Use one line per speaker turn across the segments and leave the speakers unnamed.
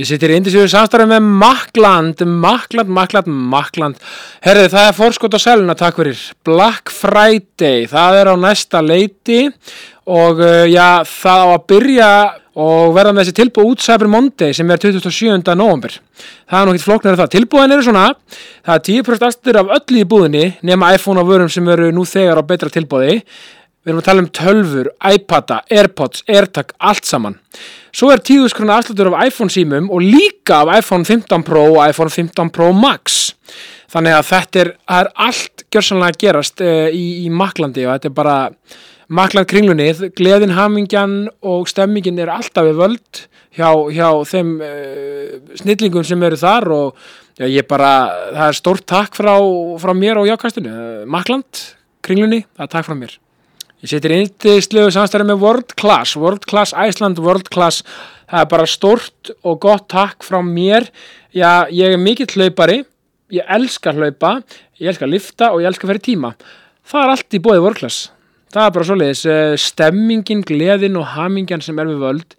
Ég sittir í indisíðu samstarfið með Makland, Makland, Makland, Makland. Herðið, það er fórskot á seluna, takk fyrir. Black Friday, það er á næsta leiti og uh, já, það á að byrja og verða með þessi tilbúð út Cyber Monday sem er 27. november. Það er nú ekkert flóknar það. Tilbúðin eru svona, það er 10% aftur af öllu í búðinni nema iPhone og vörum sem eru nú þegar á betra tilbúði. Við erum að tala um tölfur, iPada, Airpods, AirTag, allt saman. Svo er 10 skrona afslutur af iPhone símum og líka af iPhone 15 Pro og iPhone 15 Pro Max. Þannig að þetta er, það er allt gjörsanlega að gerast uh, í, í maklandi og þetta er bara makland kringlunni. Gleðin, hamingjan og stemmingin er alltaf við völd hjá, hjá þeim uh, snillingum sem eru þar og já, ég bara, það er stórt takk frá, frá mér og jákastinu. Uh, makland, kringlunni, það er takk frá mér. Ég setir eindislegu samstæri með World Class, World Class Iceland, World Class, það er bara stort og gott takk frá mér. Já, ég er mikill hlaupari, ég elska hlaupa, ég elska lifta og ég elska fyrir tíma. Það er allt í bóði World Class. Það er bara svoleiðis, eh, stemmingin, gleðin og hamingjan sem er við völd,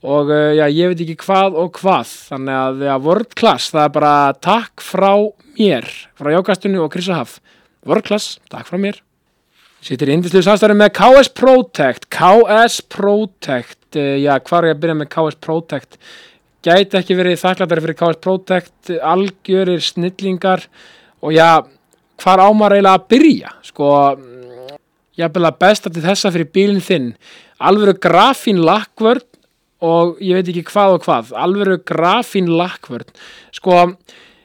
og uh, já, ég veit ekki hvað og hvað þannig að ja, World Class, það er bara takk frá mér, frá Jókastunni og Krissa Haf, World Class, takk frá mér Sittir í indislu samstæri með KS Protect KS Protect uh, já, hvað er ég að byrja með KS Protect gæti ekki verið þakklættari fyrir KS Protect, algjörir snillingar og já hvar ámar eiginlega að byrja sko, jafnvel að besta til þessa fyrir bílinn þinn alvöru grafín lakkvörn og ég veit ekki hvað og hvað alvöru grafín lakkvörn sko,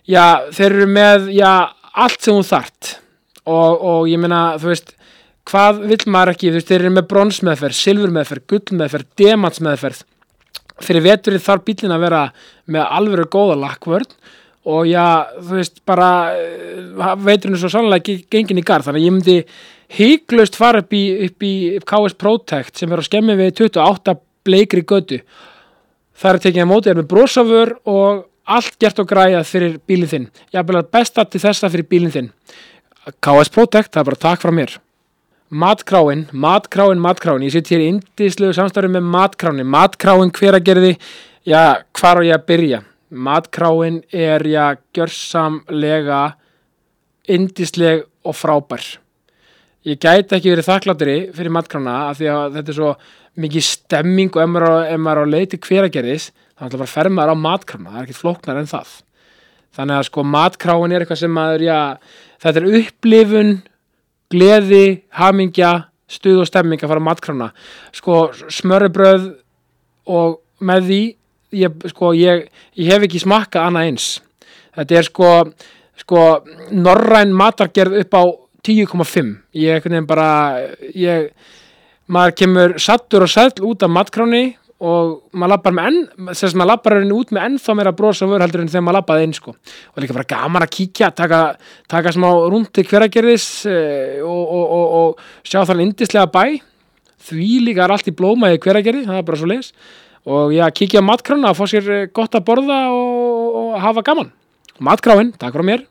já, þeir eru með já, allt sem hún þart og, og ég meina, þú veist hvað vill maður ekki, þú veist, þeir eru með bronsmeðferð, silfurmeðferð, gullmeðferð demantsmeðferð fyrir veturinn þarf bílinn að vera með alvöru góða lakkvörn og já, þú veist, bara eh, veturinn er svo sannlega ekki gengin í garð þannig að ég myndi híklaust fara upp í, upp í upp KS Protect sem er á skemmi við 28 bleikri götu það er tekið að móti þér með brosafur og allt gert og græjað fyrir bílinn þinn jafnvel að besta til þessa fyrir bílinn þinn KS Protect, það er bara takk frá mér Matkráin, matkráin, matkráin Ég sitt hér í indislegu samstarfi með matkráni Matkráin hver að gerði Já, hvar á ég að byrja? Matkráin er, já, gjörsamlega indisleg og frábær Ég gæti ekki verið þakkláttri fyrir matkrána af því að þetta er svo mikið stemming og ef maður er á- ef maður er á leiti hver að gerðis þá ætla bara að fer maður á matkrána það er ekkert flóknar en það Þannig að sko matkráin er eitthvað sem maður, já, þetta er upplifun gleði, hamingja, stuð og stemming að fara á matkrána. Sko, smörrebröð og með því, ég, sko, ég, ég hef ekki smakkað annað eins. Þetta er sko, sko, norræn matargerð upp á 10,5. Ég einhvern veginn bara, ég, maður kemur sattur og sæll út af matkráni og maður lappar með enn, sem sem maður lappar henni út með ennþá meira bros og vör heldur en þegar maður lappaði inn sko. Og líka bara gaman að kíkja, taka, taka smá rúndi hveragerðis eh, og, og, og, og sjá þannig indislega bæ. Því líka er allt í blóma í hveragerði, það er bara svo leis. Og já, kíkja á matkrána og fá sér eh, gott að borða og, og hafa gaman. Matkráin, takk frá mér.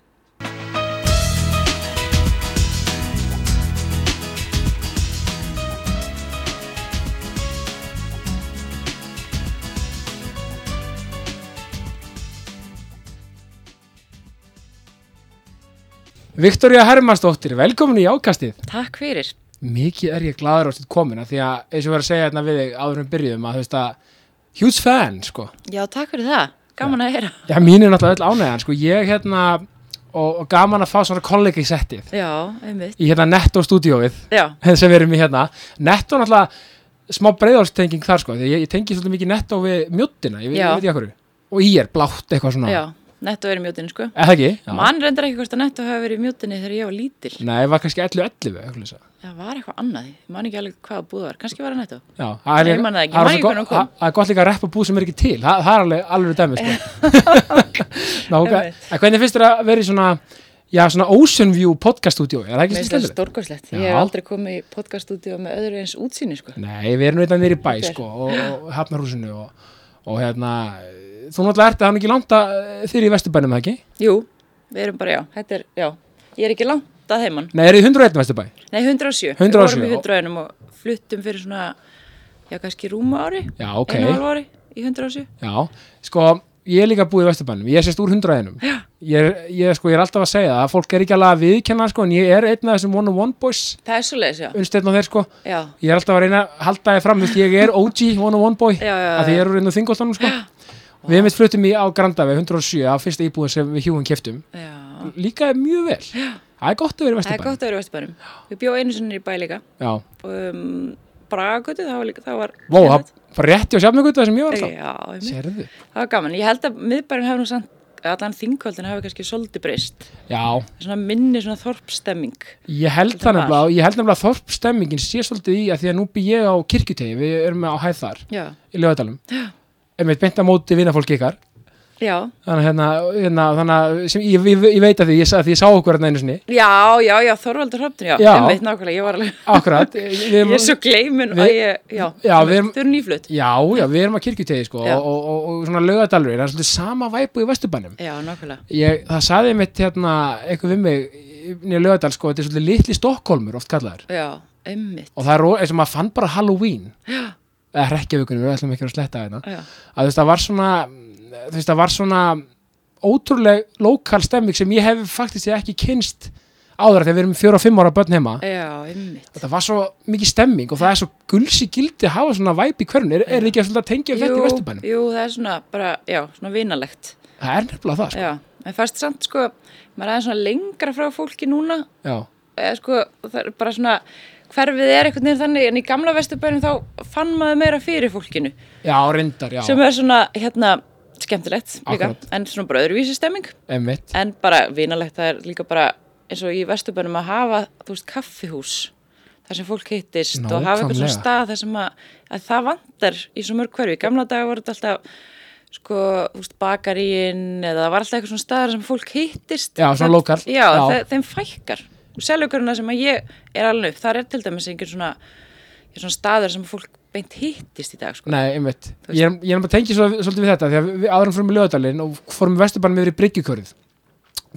Viktoria Hermansdóttir, velkomin í ákastið.
Takk fyrir.
Mikið er ég gladur á sitt komin af því að eins og ég var að segja hérna við þig áður en við byrjuðum að þú veist að huge fan sko.
Já, takk fyrir það. Gaman að heyra.
Já, mín er náttúrulega öll ánægðan sko. Ég hérna og, og gaman að fá svona kollega í settið
Já, einmitt.
í hérna netto stúdíóið
Já,
sem við erum í hérna. Netto náttúrulega smá breyðálstenging þar sko því að ég, ég tengi svolítið mikið netto við mjóttina, ég, veit-
Já.
ég veit ég okkur og í er blátt eitthvað svona.
já. netto er í mjótinni sko.
Er það ekki? Já.
Mann reyndar ekki hvort að netto hafi verið í mjótinni þegar ég var lítil.
Nei, það var kannski 11-11 eitthvað þess að.
Það var eitthvað annað, ég man ekki alveg hvað búð það var, kannski var það netto.
Já, það er
Nei,
líka-
ég man það ekki,
er
maður
svo
ekki
gott-
hvernig hún kom.
það- það er gott líka að reppa búð sem er ekki til það, það er alveg alveg dæmi sko. Ná, ok,
Einmitt.
en hvernig finnst þér að vera í svona já, svona Ocean View podcast stúdíó er það ekki sem
Mér finnst það
stendur?
stórkoslegt.
Já.
Ég hef aldrei komið í podcaststúdíu með öðru eins útsýni, sko.
Nei, við erum auðvitað nýri bæ
Þetta er-
sko, og, og hafnarhúsinu og, og hérna, þú náttúrulega ert að hann ekki langt að þér í vesturbænum, eða ekki?
Jú, við erum bara, já, þetta er, já. Ég er ekki langt að heimann.
Nei, eru þið 101 vesturbæ?
Nei, 107.
107,
Við vorum í
já.
101 og fluttum fyrir svona, já, kannski rúma ári,
Já, ok.
einu og hálf ári í 107.
Já, sko, ég er líka búið í Vesturbænum, ég er sérst úr hundraðinum. Ég, er- ég, sko, ég er alltaf að segja það, fólk er ekki alveg að viðkenna, sko, en ég er einn af þessum one-on-one boys,
Það er svo leiðis, já.
unnstæðn á þeir, sko.
Já,
Ég er alltaf að reyna að halda þið fram, þú veist, ég er OG one-on-one boy,
Já, já, já,
af því ég er úr einn og þingoltanum, sko. Við mitt fluttum í á Grandavi 107 á fyrsta íbúðin sem við hjúum keftum.
já.
Líka mjög vel. Það er gott að vera í
Það er
Vesturbænum.
gott að vera í Vesturbænum. Við bjóðum einu sinni í bæ líka.
Já,
Um, Bragakötu, það var líka, það var...
Vó, það var rétti á sjafnökutu það sem ég var alltaf.
Já, einmitt.
Sérðu.
það var gaman. Ég held að miðbærum hefur nú samt, allan þingkvöldin hefur kannski svolítið breyst.
Já,
Svona minni svona þorpstemming.
ég held
Heldur
það
það?
nefnilega, ég held nefnilega að þorpstemmingin sé svolítið í að því að nú bý ég á kirkjutegi, við erum á hæð þar
Já,
í lögadalum. Einmitt beint á móti vinafólki ykkar.
já,
Þannig að hérna, hérna, þannig að sem, ég, ég, ég veit að því, ég, sa- að því ég sá okkur hérna einu sinni.
já, já, já, Þorvaldur Hröptun, já,
Já.
einmitt nákvæmlega, ég var alveg,
Akkurat. Við
ég er svo gleimin
Við-
að ég, já,
Já, við erum-
þau eru nýflutt.
Já, já, við erum á kirkjutegi sko
Já.
og, og, og, og svona lögadalur, það er svolítið sama væpu í vesturbænum.
Já, nákvæmlega,
Ég, það saði mitt hérna, eitthvað við mig, nýja lögadal sko, þetta er svolítið litli Stokkólmur oft kallaður.
já, einmitt,
og það er ro- eins og maður fann bara Halloween eða rekkjavíkunum, við ætlum ekki að sletta þetta
já,
að þú veist, það var svona þú veist, það var svona ótrúleg lokal stemming sem ég hef faktisk ekki kynst áður af því að við erum fjóra og fimm ára börn heima
já, einmitt.
það var svo mikið stemming og það er svo gulsi gildi að hafa svona væp í hverjun er, er ekki að svolítið að tengja þetta í vesturbænum
jú, það er svona bara, já, svona vinalegt,
það er nefnilega það, sko
já, en fast samt, sko, maður er aðeins svona lengra frá fólki núna,
já,
eða, sko, það er bara svona, hverfið er einhvern veginn þannig, en í gamla vesturbænum þá fann maður meira fyrir fólkinu,
já reyndar, já,
sem er svona, hérna, skemmtilegt líka,
Akkurat.
en svona bara öðruvísi stemming.
emmitt
en bara vinalegt það er líka bara eins og í vesturbænum að hafa þú veist kaffihús þar sem fólk hittist og hafa eitthvað svona
Nákvæmlega.
stað þar sem að, að það vantar í svo mörg hverfi, í gamla daga var þetta alltaf sko, þú veist, bakaríinn eða það var alltaf eitthvað svona staðar sem fólk hittist
Já, svona
Það-
lokal.
já,
Já.
þe- þeim fækkar selugurna sem að ég er alveg upp þar er til dæmis einhver svona, ja, svona staðar sem fólk beint hittist í dag sko.
Nei, einmitt. Ég er, ég er bara að tengja svo, svolítið við þetta, því að við áðurum fórum í lögadalinn og fórum í vesturbænum yfir í Bryggjukörð.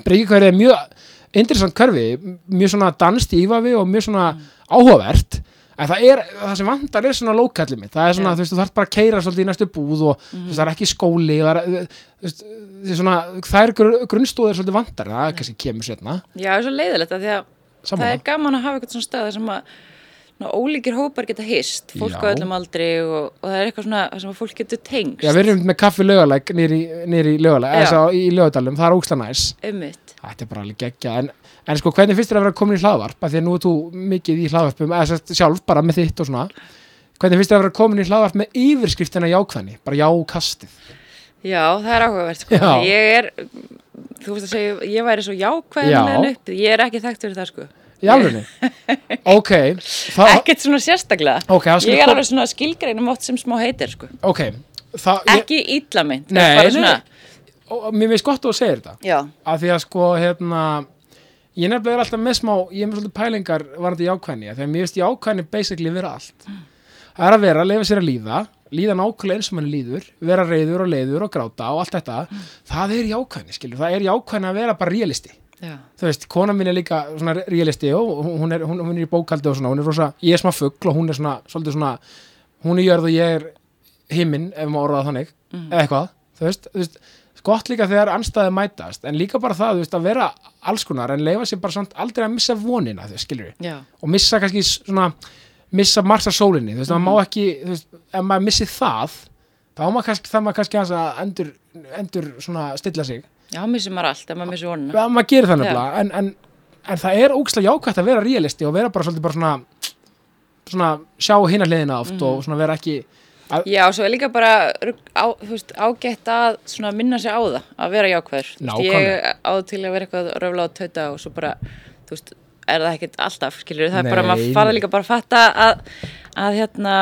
Bryggjukörð er mjög interessant körfi, m- mjög svona danst í ífafi og mjög svona
Mm.
áhugavert, en það er, það sem vantar er svona lókallið mitt, það er svona,
Já. Mm.
þú veist, þú þarf bara að keira svolítið í næstu búð og þú veist, það er ekki skóli, það er, þú veist, það er svona, þær gru- grunnstóðir svolítið vantar, það er kannski kemur setna,
já, Mm. það er svo leiðilegt að því að það
saman
er gaman að hafa eitthvað svona stað þar sem að ná, ólíkir hópar geta hist, fólk
Já.
á öllum aldri og, og það er eitthvað svona þar sem að fólk getur tengst
Já, við erum með kaffi lögalæk nýri, nýri lögalæk,
Já.
eða svo í lögadalum, það er óksla næs.
ummitt.
Þetta er bara alveg geggja en, en sko hvernig finnst þér að vera komin í hlaðvarp af því að nú er þú mikið í hlaðvarpum eða sérst sjálf bara með þitt og svona hvernig finnst þér að vera komin í hlaðvarp með yfirskriftina jákvæðni, bara jákastið
Já, það er áhugavert sko.
Já.
Ég er, þú veist að segja, ég væri svo
Já.
jákvæðanlegin upp, ég er ekki þekkt fyrir það sko.
í alvegni ok, það,
Ekkert svona sérstaklega.
Ok, það skal
ég er
kom-
alveg svona skilgreinum átt sem smá heitir sko.
ok það, ég,
Ekki ítla meint.
Nei,
bara
nei,
svona-
og, mér finnst gott að þú segir þetta
Já,
af því að sko hérna ég nefnilega er alltaf með smá, ég er með svolítið pælingar varandi jákvæðni, af því að mér finnst jákvæðni basically vera allt það er að vera, leifa sér að líða líða nákvæmlega eins og mann líður vera reyður og leiður og gráta og allt þetta það er jákvæðni, skilur, það er jákvæðni að vera bara realisti,
já,
þú veist, kona mín er líka svona realisti og hún er, hún, hún er í bókaldi og svona, hún er rosa, ég er smá fugg og hún er svona, svolítið svona, hún er jörð og ég er himinn, ef maður orðað þannig eða eitthvað, þú veist, þú veist gott líka þegar anstæði mætast en líka bara það, þú veist, að vera alls konar en leifa sér bara samt aldrei að missa vonina þú veist, skilur
já,
og missa kannski svona missa marsa sólinni, þú veist, maður má ekki þú veist, ef maður missi það þá má maður kannski, það maður kannski aðeins að endur, endur svona stilla sig
já, missum maður allt, en maður missur vonuna.
að maður gerir það nefnilega en, en, en það er ógslag jákvæmt að vera realisti og vera bara svolítið bara svona svona sjá hina hliðina oft og svona vera ekki
Já, svo er líka bara rugg- á, þú veist, ágætt að svona minna sig á það, að vera jákvæður. Þú veist,
Nákvæmlega.
Ég áður til að vera eitthvað röfla og tauta og svo bara, þú veist, er það ekkert alltaf, skilur það
Nei,
er bara, maður
nei.
fara líka bara að fatta að, að hérna,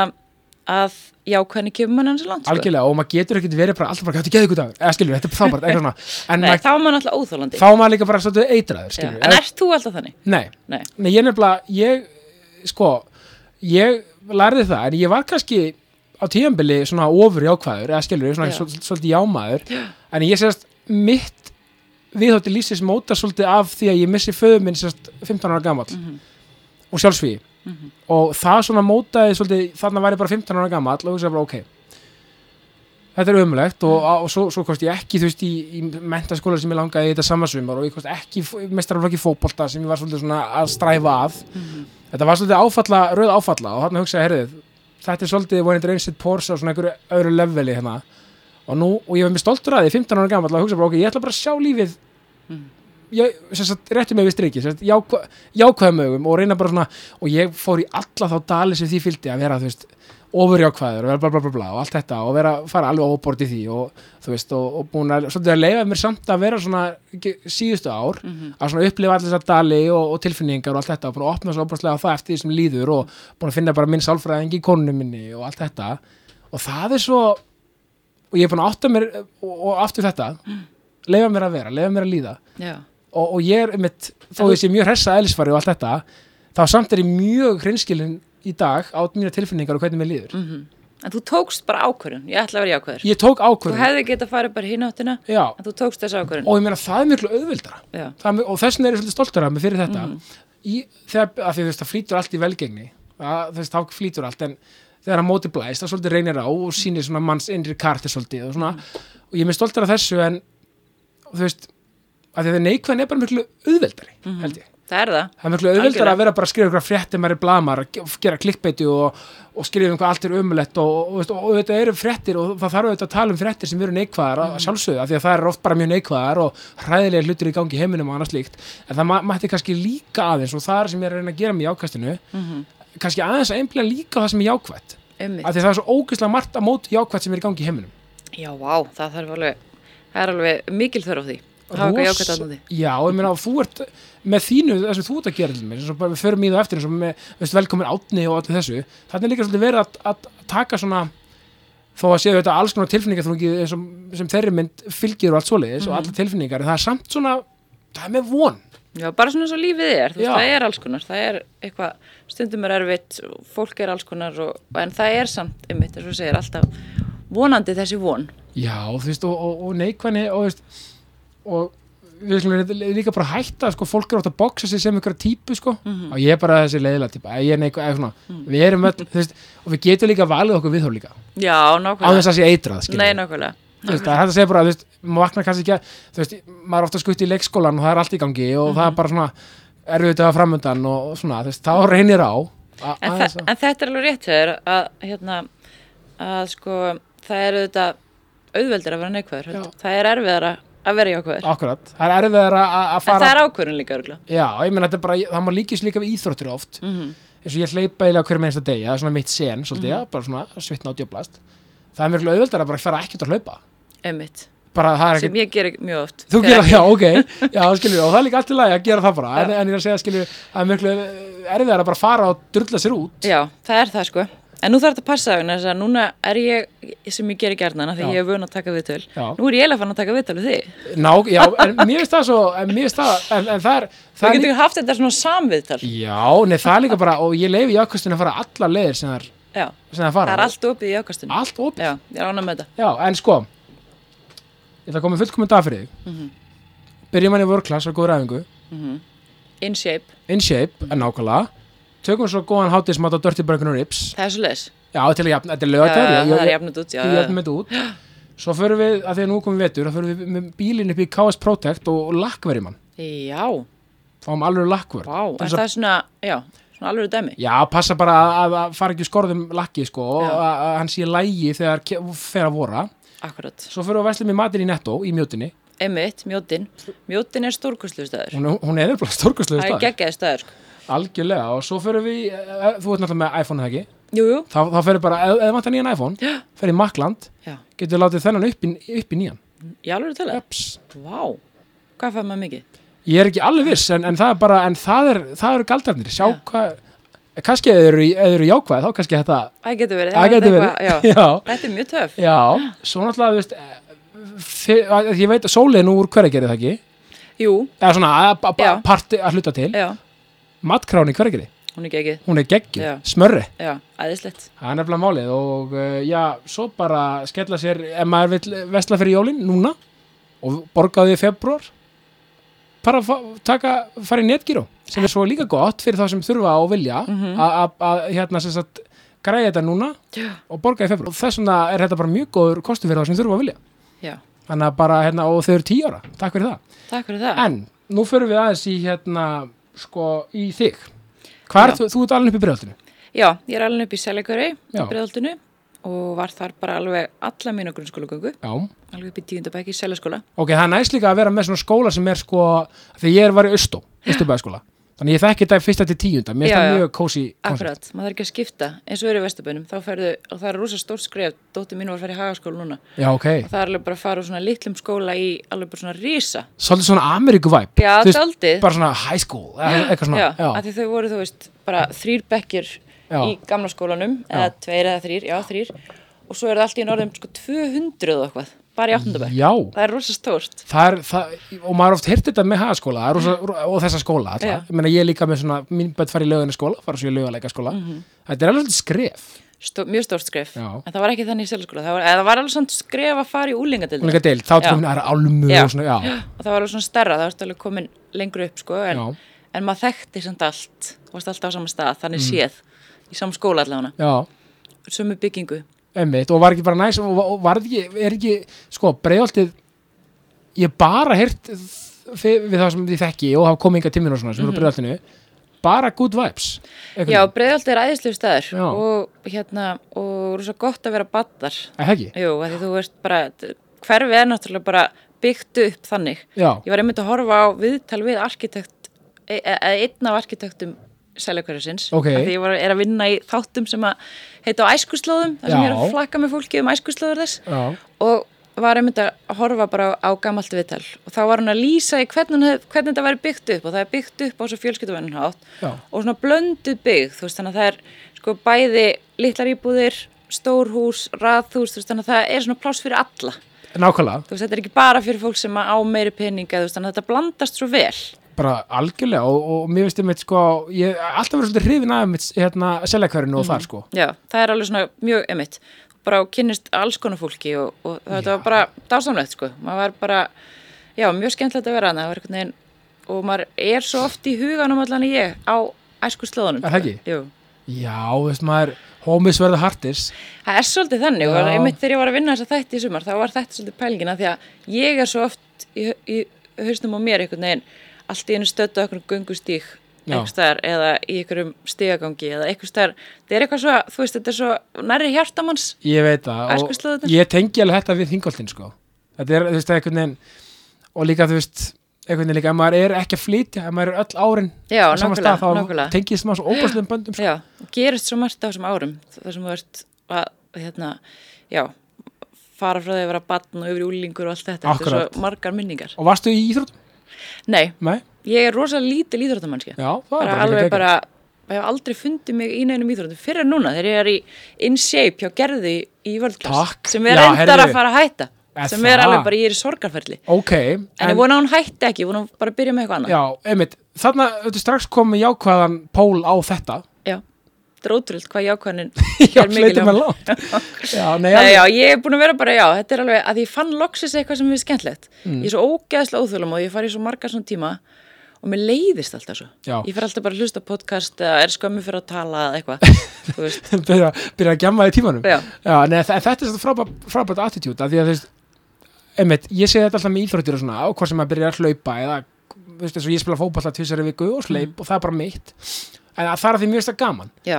að jákvæðinni kemur mann hans langt, sko.
algjörlega og maður getur ekkert verið bara alltaf bara þetta er geðvíku dagur, eða skilur, þetta er þá bara eitthvað svona, en
Nei,
maður,
þá er mann alltaf óþólandi.
þá er maður líka bara svolítið eitraður,
Já.
skilur,
En ert þú alltaf þannig?
nei,
Nei.
nei, ég nefnilega, ég sko, ég lærði það, en ég var kannski á tíðanbili svona ofur jákvæður, eða skilur, svona
Já.
svol- svolítið jámaður, en ég sérst mitt viðhótti lýsins móta svolítið af því að ég missi föðu minn sérst 15 ára gamall og sjálfsvíði og það svona mótaði svolítið, þarna var ég bara 15 ára gamall og hugsaði bara ok þetta er ömulegt og, og svo, svo komst ég ekki þú veist í, í mentaskóla sem ég langaði í þetta samansvimar og ég komst ekki mestaraflokki fótbolta sem ég var svolítið svona að stræfa að þetta var svolítið áfalla, rauð áfalla og þarna hugsaði, herðið, þetta er svolítið vonin dreynsitt porsa og svona einhverju öðru leveli hérna og nú, og ég var mér stoltur að því 15 ára gammal að hugsa bara, ok, ég ætla bara að sjá lífið ég, sem sagt, réttum mig við striki sem sagt, jákva, jákvæðum augum og reyna bara svona, og ég fór í alla þá dali sem því fylgdi að vera, þú veist ofurjákvæður og vera bla bla bla bla og allt þetta og vera, fara alveg óbort í því og þú veist, og, og búin að, svolítið að leifa mér samt að vera svona ekki, síðustu ár
Mhm,
að svona upplifa allir þessar dali og, og tilfinningar og allt þetta og búin að opna svo óbortlega á það eftir því sem líður og búin að finna bara minn sálfræðing í konunni minni og allt þetta og það er svo og ég er búin að átta mér og, og aftur þetta leifa mér að vera, leifa mér að líða
Já.
og, og ég er mitt, þó ég sé mjög hressa eðlisfari og allt þetta, þá samt er ég mjög hreinskilin í dag á mína tilfinningar og hvernig mér líður.
En þú tókst bara ákvörðun, ég ætla að vera jákvæður.
Ég tók
Þú
ákvörðun
hefði getað farið bara hináttina,
já,
en þú tókst þessa ákvörðun.
og ég meina það er miklu auðveldara
Já.
Það er mjög- og þess vegna er ég svolítið stoltur af mig fyrir þetta í, þegar, af því þú veist, það flýtur allt í velgengni það, þú veist, þá flýtur allt en þegar að móti blæst, það svolítið reynir á og sýnir svona manns innri karti svolítið og svona, og ég er mér stoltur af þessu en þú veist, af því að neikvæðan er bara miklu auðveldari, held ég
Það er það.
það er miklu auðveldar
Algjörlega.
að vera bara að skrifa ykkur fréttir maður er blamar, að ge- gera klikkbeiti og, og skrifa um hvað allt er umlegt og, og, veist, og þetta eru fréttir og það þarf auðvitað að tala um fréttir sem eru neikvæðar að sjálfsögðu af því að það eru oft bara mjög neikvæðar og hræðilega hlutir í gangi í heiminum og annað slíkt en það ma- mætti kannski líka aðeins og það er sem ég er að reyna að gera mig í ákastinu kannski aðeins að einblina líka á það sem er jákvætt af
Einmitt.
því að það er svo ógeðslega margt að móti jákvætt sem er í gangi í heiminum
Já, vá, það þarf alveg, það er alveg mikil þörf á því. Það var eitthvað
Rosa-
jákvæmt aðnandi.
Já, ég meina, og þú ert með þínu, það sem þú ert að gera til mér, eins og bara við förum í það eftir, eins og með veist, velkomin átni og allir þessu, þannig er líka svolítið verið að, að taka svona, þó að séu þetta alls konar tilfinningar þrungi sem, sem þeirri mynd fylgir og allt svoleiðis og allar tilfinningar, en það er samt svona, það er með von.
Já, bara svona svo lífið er, þú veist,
Já.
það er alls konar, það er eitthvað, stundum er erfitt, fólk er alls konar, og, en það er samt, einmitt, eins og þú segir, alltaf vonandi þessi von.
Já, þú veist, og, og, og neikvæðni og, þú veist, og við skulum líka bara hætta, sko, fólk er átt að boksa sig sem einhverja típu, sko, og ég er bara þessi leiðilega típa, ég er neikvæð, eða svona, við erum öll, þú veist, og við getum líka valið okkur viðhór líka,
Já,
á þess
nákvæmlega.
að sé eitrað, skilur.
Nei, nákvæmlega.
Þú veist, það er hægt að segja bara, þú veist, maður vaknar kannski ekki að, þú veist, maður er ofta skutt í leikskólan og það er allt í gangi og það
Mhm.
er bara svona erfiðt að framöndan og og svona, þú veist, þá reynir á a-
En,
aðeins
þa
að-
en þetta er alveg rétt hjá þér að, hérna, að sko, það er auðvitað auðveldir að vera neikvæður, heldur. það er erfiðara að vera jákvæður.
akkurat, það er erfiðar að að
En það
fara,
er ákvörðun líka örgulega.
já, ég meina þetta er bara, það má líkist líka við íþróttir oft,
Mhm.
eins og ég hleypa eiginlega hverjum einsta degi, það er svona mitt sen, svolítið, mm bara svona svitna og djöblast, það er mjög auðveldar að bara fara ekkert að hlaupa,
Einmitt.
bara það er ekkert
Sem ég ger mjög oft.
Þú
Þegar-
gera, já, ok, já, skilur, og það er líka allt í lagi að gera það bara, en, en ég er að segja, skilur, það er miklu erfiðar að bara fara og drulla sér út.
Já, það er það sko. En nú þarf þetta að passa vegna þess að núna er ég, sem ég gerir gerðnana, því
Já.
ég er vun að taka viðtöl.
Já.
Nú er ég eiginlega fann að taka viðtöl við þig.
Ná, já, en mér finnst það svo, en mér finnst það, en, en það er,
Þú
það er
getur
líka,
líka... haft þetta svona samviðtal.
já, nei, það er líka bara, og ég leifi jákvæstinu að fara allar leiðir sem það er,
Já,
sem það
það
fara.
er allt opið í ákastunum.
Allt opið.
Já, ég er ánað með þetta.
Já, en sko, ég ætla að koma með fullkominn dag fyrir þig. Mm
Mhm.
-hmm. Byrjum hann í vörklass og góður æfingu,
In shape,
in shape, en nákvæmlega, tökum svo góðan hátíðismat á Dirty Burger and Rips,
það er svo leis.
já, til að jafna, þetta er
Já,
lögadagur,
það er jafnut út, já.
við
já.
jöfnum þetta hérna út svo förum við, að því að nú komum við vetur þá förum við með bílinn upp í KS Protect og lakkverjum hann,
Já,
fáum alveg lakkverð
vá, en það er svona, já, svona alveg dæmi.
já, passa bara að, að, að fara ekki úr skorðum lakki sko, og að, að hann sé lægi þegar ke- fer að vora,
Akkurat.
svo förum við að vesla með matinn í netto í mjótinni,
Einmitt, mjótin. Mjótin er stórkustlu staður.
hún, hún er nefnilega stórkastlega
Það er
stað,
geggjaði staður. sko.
e, algjörlega og svo förum við, í- eh, þú ert náttúrulega með iPhone eða ekki
Jú, jú,
þá, þá ferðu bara, ef- ef það vantar nýjan iPhone
Já.
ferðu í Makland,
já,
getur látið þennan upp í, upp í nýjan
ég alveg til það.
Ups.
Vá, hvað fæði maður mikið?
ég er ekki alveg viss en, en það er bara, en það er, það eru galdarnir sjá
Já.
hvað, kannski ef þau eru, ef þau eru jákvæð, þá kannski þetta
Það getur verið.
það
þetta
getur
er
verið,
eitthvað- Já.
já,
Þetta er mjög töf.
já svo náttúrulega, þú veist eh, þi- að- ég veit að sólið er nú úr hverjargerið það ekki
Jú,
eða svona, að- að-
Já.
að- parti að hluta til
já,
matkráni í hverjargerið,
hún er geggið.
hún er geggju,
Já.
smörri
Já, æðislegt.
það er nefnilega málið og uh, já, svo bara skella sér, ef maður vill vesla fyrir jólin núna og borgaði í februar bara fa- taka, fara í netgíró sem er svo líka gott fyrir þá sem þurfa og vilja mm
Mhm.
að hérna sem sagt græja þetta núna
Já.
og borga í februar og þess vegna er þetta bara mjög góður kostu fyrir þá sem þurfa og vilja
Já,
þannig að bara, hérna, og þau eru tíu ára, takk fyrir það
takk fyrir það.
en, nú förum við aðeins í hérna, sko, í þig hvað er
Já.
þú, þú ert alveg upp í bregðaltinu
Já, ég er alveg upp í Seljakveri, í
Já.
Breiðaldinu og var þar bara alveg alla mínu grunnskólagöngu,
já,
alveg upp í tíundabæk í Seljaskóla.
Ok, það er næst líka að vera með svona skóla sem er sko, því ég er var í Östó, Östubæðaskóla. Þannig ég þekki þetta fyrsta til tíunda, mér
Já,
finnst það
já.
mjög kósi koncept.
Akkurat, maður þarf ekki að skipta eins og er í Vestabænum, þá ferðu, og það er rosa stór skref, dóttir mín var að fara í hagaskóla núna
Já, ok.
og það er alveg bara að fara úr svona litlum skóla í alveg bara svona risa
Svolítið svona Ameríku-væp.
Já, dálítið.
Bara svona high school, eða eitthvað svona.
Já,
Já,
af því þau voru, þú veist, bara þrýr bekkir
Já.
í gamla skólanum eða tveir eða þrýr, já þrýr og svo er það allt í norðum sko 200 og eitthvað, bara í áttundabæk
já.
Það er rosa stórt
Það er, það, og maður oft hirt þetta með hagaskóla það er rosa, og þessa skóla
Mhm. Já.
alltaf. Ég meina, ég er líka með svona, mín bætt fari í löguna skóla, fara svo í löguleika skóla.
Mhm.
Þetta er alveg svolítið skref.
Stó, mjög stórt skref,
Já.
en það var ekki þannig í selskóla það var, eða það var alveg svona skref að fara í úlingadildina
Hún líka deild, þá
Já.
tókum það er álmu
Já.
og svona, já.
og það var alveg svona stærra, það varst alveg komin lengur upp sko, en,
Já. Mm.
en maður þekkti samt allt, þú varst alltaf á sama stað þannig séð, í sama skóla allavega
Já.
sömu byggingu,
Einmitt, og var ekki bara næs og og var ekki, er ekki, sko, breiðoltið ég bara heyrt þ- við það sem ég þekki og hafa komið yngja tíminu og svona sem eru á breiðoltinu bara good vibes einhvern
já
veginn.
breiðaldi er æðislega staður
Já.
og hérna og rosa gott að vera battar
Er það ekki?
jú, að því þú veist bara hverfi er náttúrulega bara byggt upp þannig
Já,
ég var einmitt að horfa á viðtal við arkitekt, e- e- eða einn af arkitektum seljakverðarsins,
Ok.
því ég var, er að vinna í þáttum sem að heita á æskuslóðum þar sem ég er
Já.
að flakka með fólki um æskuslóður þess
já,
og var einmitt að horfa bara á, á gamalt viðtal og þá var hann að lýsa í hvernig, hann hef- hvernig þetta væri byggt upp og það er byggt upp á svo fjölskylduvennun hátt
já,
og svona blönduð byggð, þú veist þannig að það er sko bæði litlar íbúðir stórhús, raðhús, þú veist þannig að það er svona pláss fyrir alla þú
nákvæmlega
veist þetta er ekki bara fyrir fólk sem að á meiri peninga þú veist þannig að þetta blandast svo vel
bara algjörlega og, og mér finnst einmitt sko, ég hef alltaf verið svolítið hrifin af mitt, hérna, seljakverinu og þar sko
já, það er alveg svona mjög emitt bara kynnist alls konar fólki og, og þetta var bara dásamlegt sko maður var bara, já, mjög skemmtilegt að vera hana var einhvern veginn, og maður er svo oft í huganum allan en ég á æsku slóðunum
Er það ekki?
Jú.
Já, þú veist maður, homies verða hartis
Það er svolítið
Já.
þannig og einmitt þegar ég var að vinna þessa þætti í sumar þá var þetta svolítið pælgina því að ég er svo oft í, í haustum á mér einhvern veginn allt í einu stötu okkur göngustík
Já.
einhverstaðar eða í einhverjum stigagangi eða einhverstaðar, þetta er eitthvað svo, þú veist, þetta er svo nærri hjartamanns
Ég veit það og
Æskuslóðirnar.
ég tengi alveg þetta við þingoltin sko. Þetta er, þú veist, einhvern veginn og líka, þú veist, einhvern veginn líka ef maður er ekki að flytja, ef maður er öll árin
Já,
á sama
nákvæmlega,
stað, þá
nákvæmlega.
tengist maður svo óbærslegum böndum sko.
Já, og gerist svo margt á þessum árum þar sem þú ert að hérna, já, fara frá því að vera batn og yfir í úlingur og allt þetta þetta
Akkurat.
er svo margar minningar.
Og varstu í íþróttum?
Nei,
Nei?
ég er rosalega lítil íþróttamannski
Já, það
bara
er bara
alveg
líka
bara, ég hef aldrei fundið mig í neinum íþróttum fyrir en núna þegar ég er í in shape hjá gerði í völdklass
Takk.
sem er
Já,
reyndar
heyrðu.
að fara að hætta
Er
sem er
það?
alveg bara, ég er í sorgarferli en,
geggjað. Ok,
ég vona að hún hætti ekki, ég vona að hún bara byrja með eitthvað annað
já, einmitt, þarna, þetta strax komið jákvæðan pól á þetta
já, þetta er ótrúld hvað jákvæðin
Já,
er mikil
flytja
hjá
með
mér.
langt Já, nei,
Nei,
alveg
já, ég er búin að vera bara, já, þetta er alveg að ég fann loksins eitthvað sem er skemmtlegt
Mm.
ég er svo ógeðslega óþjólum og ég fari í svo marga svona tíma og mér leiðist alltaf svo
Já.
ég fer alltaf bara að hlusta á podcast eða er skömmu fyrir að tala eða eitthvað þú veist,
byrja, byrja að gemma í tímanum
Já.
nei, þa- þetta er svona frábært frábært attitude af því að þú veist einmitt, ég segi þetta alltaf með íþróttir og svona á hvað sem maður byrjar að hlaupa eða, þú veist, eins og ég spila fótballa tvisari viku
Mm.
og sleip og það er bara mitt en það er að því mjög stað gaman
já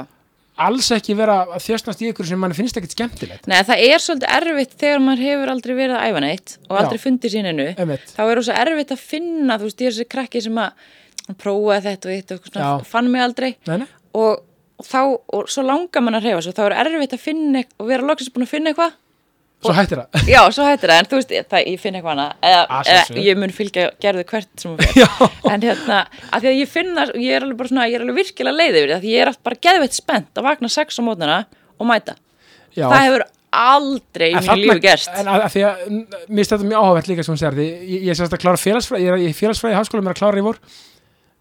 alls ekki vera að þjöstnast í ykkur sem mann finnst ekkit skemmtilegt
Nei, það er svolítið erfitt þegar maður hefur aldrei verið að æfa neitt og aldrei
Já.
fundið síninu.
Einmitt.
Þá er það erfitt að finna, þú veist, ég er þessi krakki sem að prófa þetta og þetta og svona,
Já.
fann mig aldrei
nei, nei,
og og þá, og svo langar mann að hreyfa svo þá er erfitt að finna, eit- og vera loksins búin að finna eitthvað
svo hættir það
Já, svo hættir það, en þú veist, ég- það, ég finn eitthvað hana eða,
Að
eða
sjálfsögðu.
ég mun fylgja gerðu hvert sem hún fyrir en hérna, af því að ég finn það og ég er alveg bara svona, ég er alveg virkilega leið yfir því af því ég er allt bara geðveitt spennt að vakna sex á mótnana og mæta,
Já.
það hefur aldrei í
En
mínu
þarna-
lífi gerst
en að, að því að, n- mér finnst þetta mjög áhugavert líka sem hún sér því, ég, ég sérst að klára félagsfræði ég er í félagsfræði í háskóla, mér er að klára í vor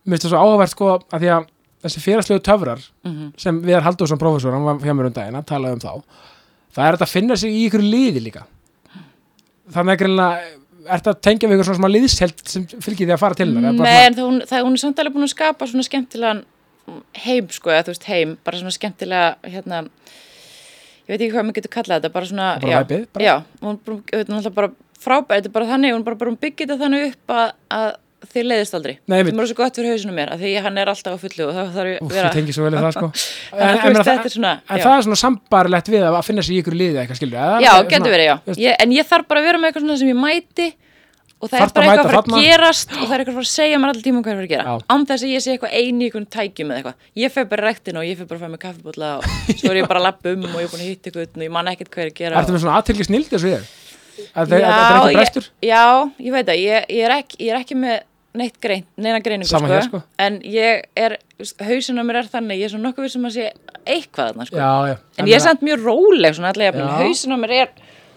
mér finnst þetta svo áhugavert sko að því að þessi félagslegu töfrar
Mhm.
sem Viðar Halldórsson prófessor, hann var hjá mér um daginn að tala um þá, það er þetta að finna sig í ykkur liði líka þannig að greinlega, er þetta að tengja við ykkur svona smá liðsheld sem fylgir því að fara til hennar, eða bara
Nei,
svona-
en það, hún, það, hún er samt alveg búin að skapa svona skemmtilegan heim, sko, eða þú veist heim, bara svona skemmtilega, hérna, ég veit ekki hvað maður getur kallað þetta, bara svona,
Bara
já,
væpið, bara.
já, hún, hún, hún, hún er bara frábæð, þetta er bara þannig, hún bara, bara hún byggir þetta þannig upp að, að þið leiðist aldrei.
Nei, einmitt.
það er svo gott fyrir hausinu mér, af því hann er alltaf á fullu og það þarf ég
Úf,
vera.
ég tengi svo vel í það sko
Þannig að þú
en,
veist,
en,
þetta er svona,
en
já.
það er svona sambarlegt við að að finna sig í ykkur liði eitthvað skilur
já, getur verið, já, ég, en ég þarf bara að vera með eitthvað svona sem ég mæti og það
Þarft
er bara
að mæta
eitthvað að fara að
þarna.
gerast og það er eitthvað að fara að segja mér alltaf tíma hvað er að fara að gera
Já.
án þess að ég sé eitthvað eini einhvern tækjum eða eitthvað, ég fer bara í ræktina og ég fer bara að fæ mig kaffibólla og svo er ég bara að lappa um og ég er búin að hitta eitthvað og ég man ekkert hvað er að gera
Ertu
og...
með svona aðtilgi snild þessu ég? Að það að það er ekki brestur?
ég, já, ég veit að ég, ég, er ekki, ég er ekki með neitt grein, neina greiningu
Sama hér, sko.
en ég er, hausin á mér er þannig ég er svona nokkuð við sem að sé eitthvað þarna, sko.
Já, já.
en ég er samt mjög róleg svona allega,
Já.
hausin á mér er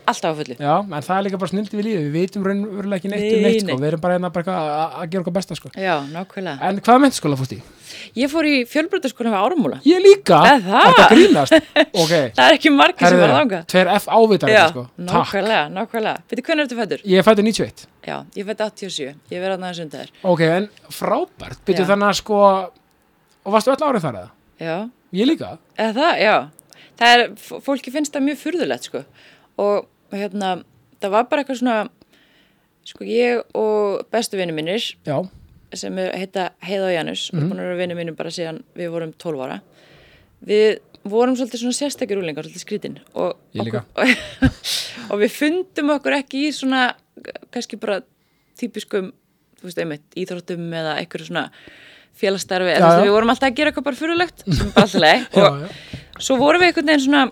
alltaf á fullu
Já, en það er líka bara snildi við lífið, við vitum raunverulega ekki neitt um
Nei,
neitt sko,
nei.
við erum bara hérna bara eitthvað að- að gera okkar besta sko.
Já, nákvæmlega.
En hvaða mentaskóla fórst í?
Ég fór í fjölbreytaskóla með árumúla.
Ég líka,
Er það?
þetta grínast, ok,
Það er ekki margir sem var þangað.
tveir F ávitar
Já,
sko, takk.
nákvæmlega, nákvæmlega. Veitir, hvernig ertu fættur?
Ég er fættu 91,
Já, ég fætti 87. Ég verði aðnaðan sundar.
ok, en frábært, byrju
Já.
þannig að sko, og varstu öll árið þar eða?
Já,
Ég líka,
eða það, já. Það er, f- fólki finnst það mjög furðulegt, sko. Og hérna, það var bara eitthvað svona, sko, ég og bestu vinnu mínir,
já,
sem er, heita Heiða og Janus
Mhm.
og búin að vera vinnu mínum bara síðan við vorum 12 ára við vorum svolítið svona sérstakir úlingar, svolítið skrítin og,
Ég líka.
og, og við fundum okkur ekki í svona kannski bara típiskum þú veist, einmitt, íþróttum eða einhverju svona félagsstarfi eða
Já,
þú veist,
já.
við vorum alltaf að gera eitthvað bara fyrirlegt sem er bara alltaf leið
já,
og
já.
svo vorum við einhvern veginn svona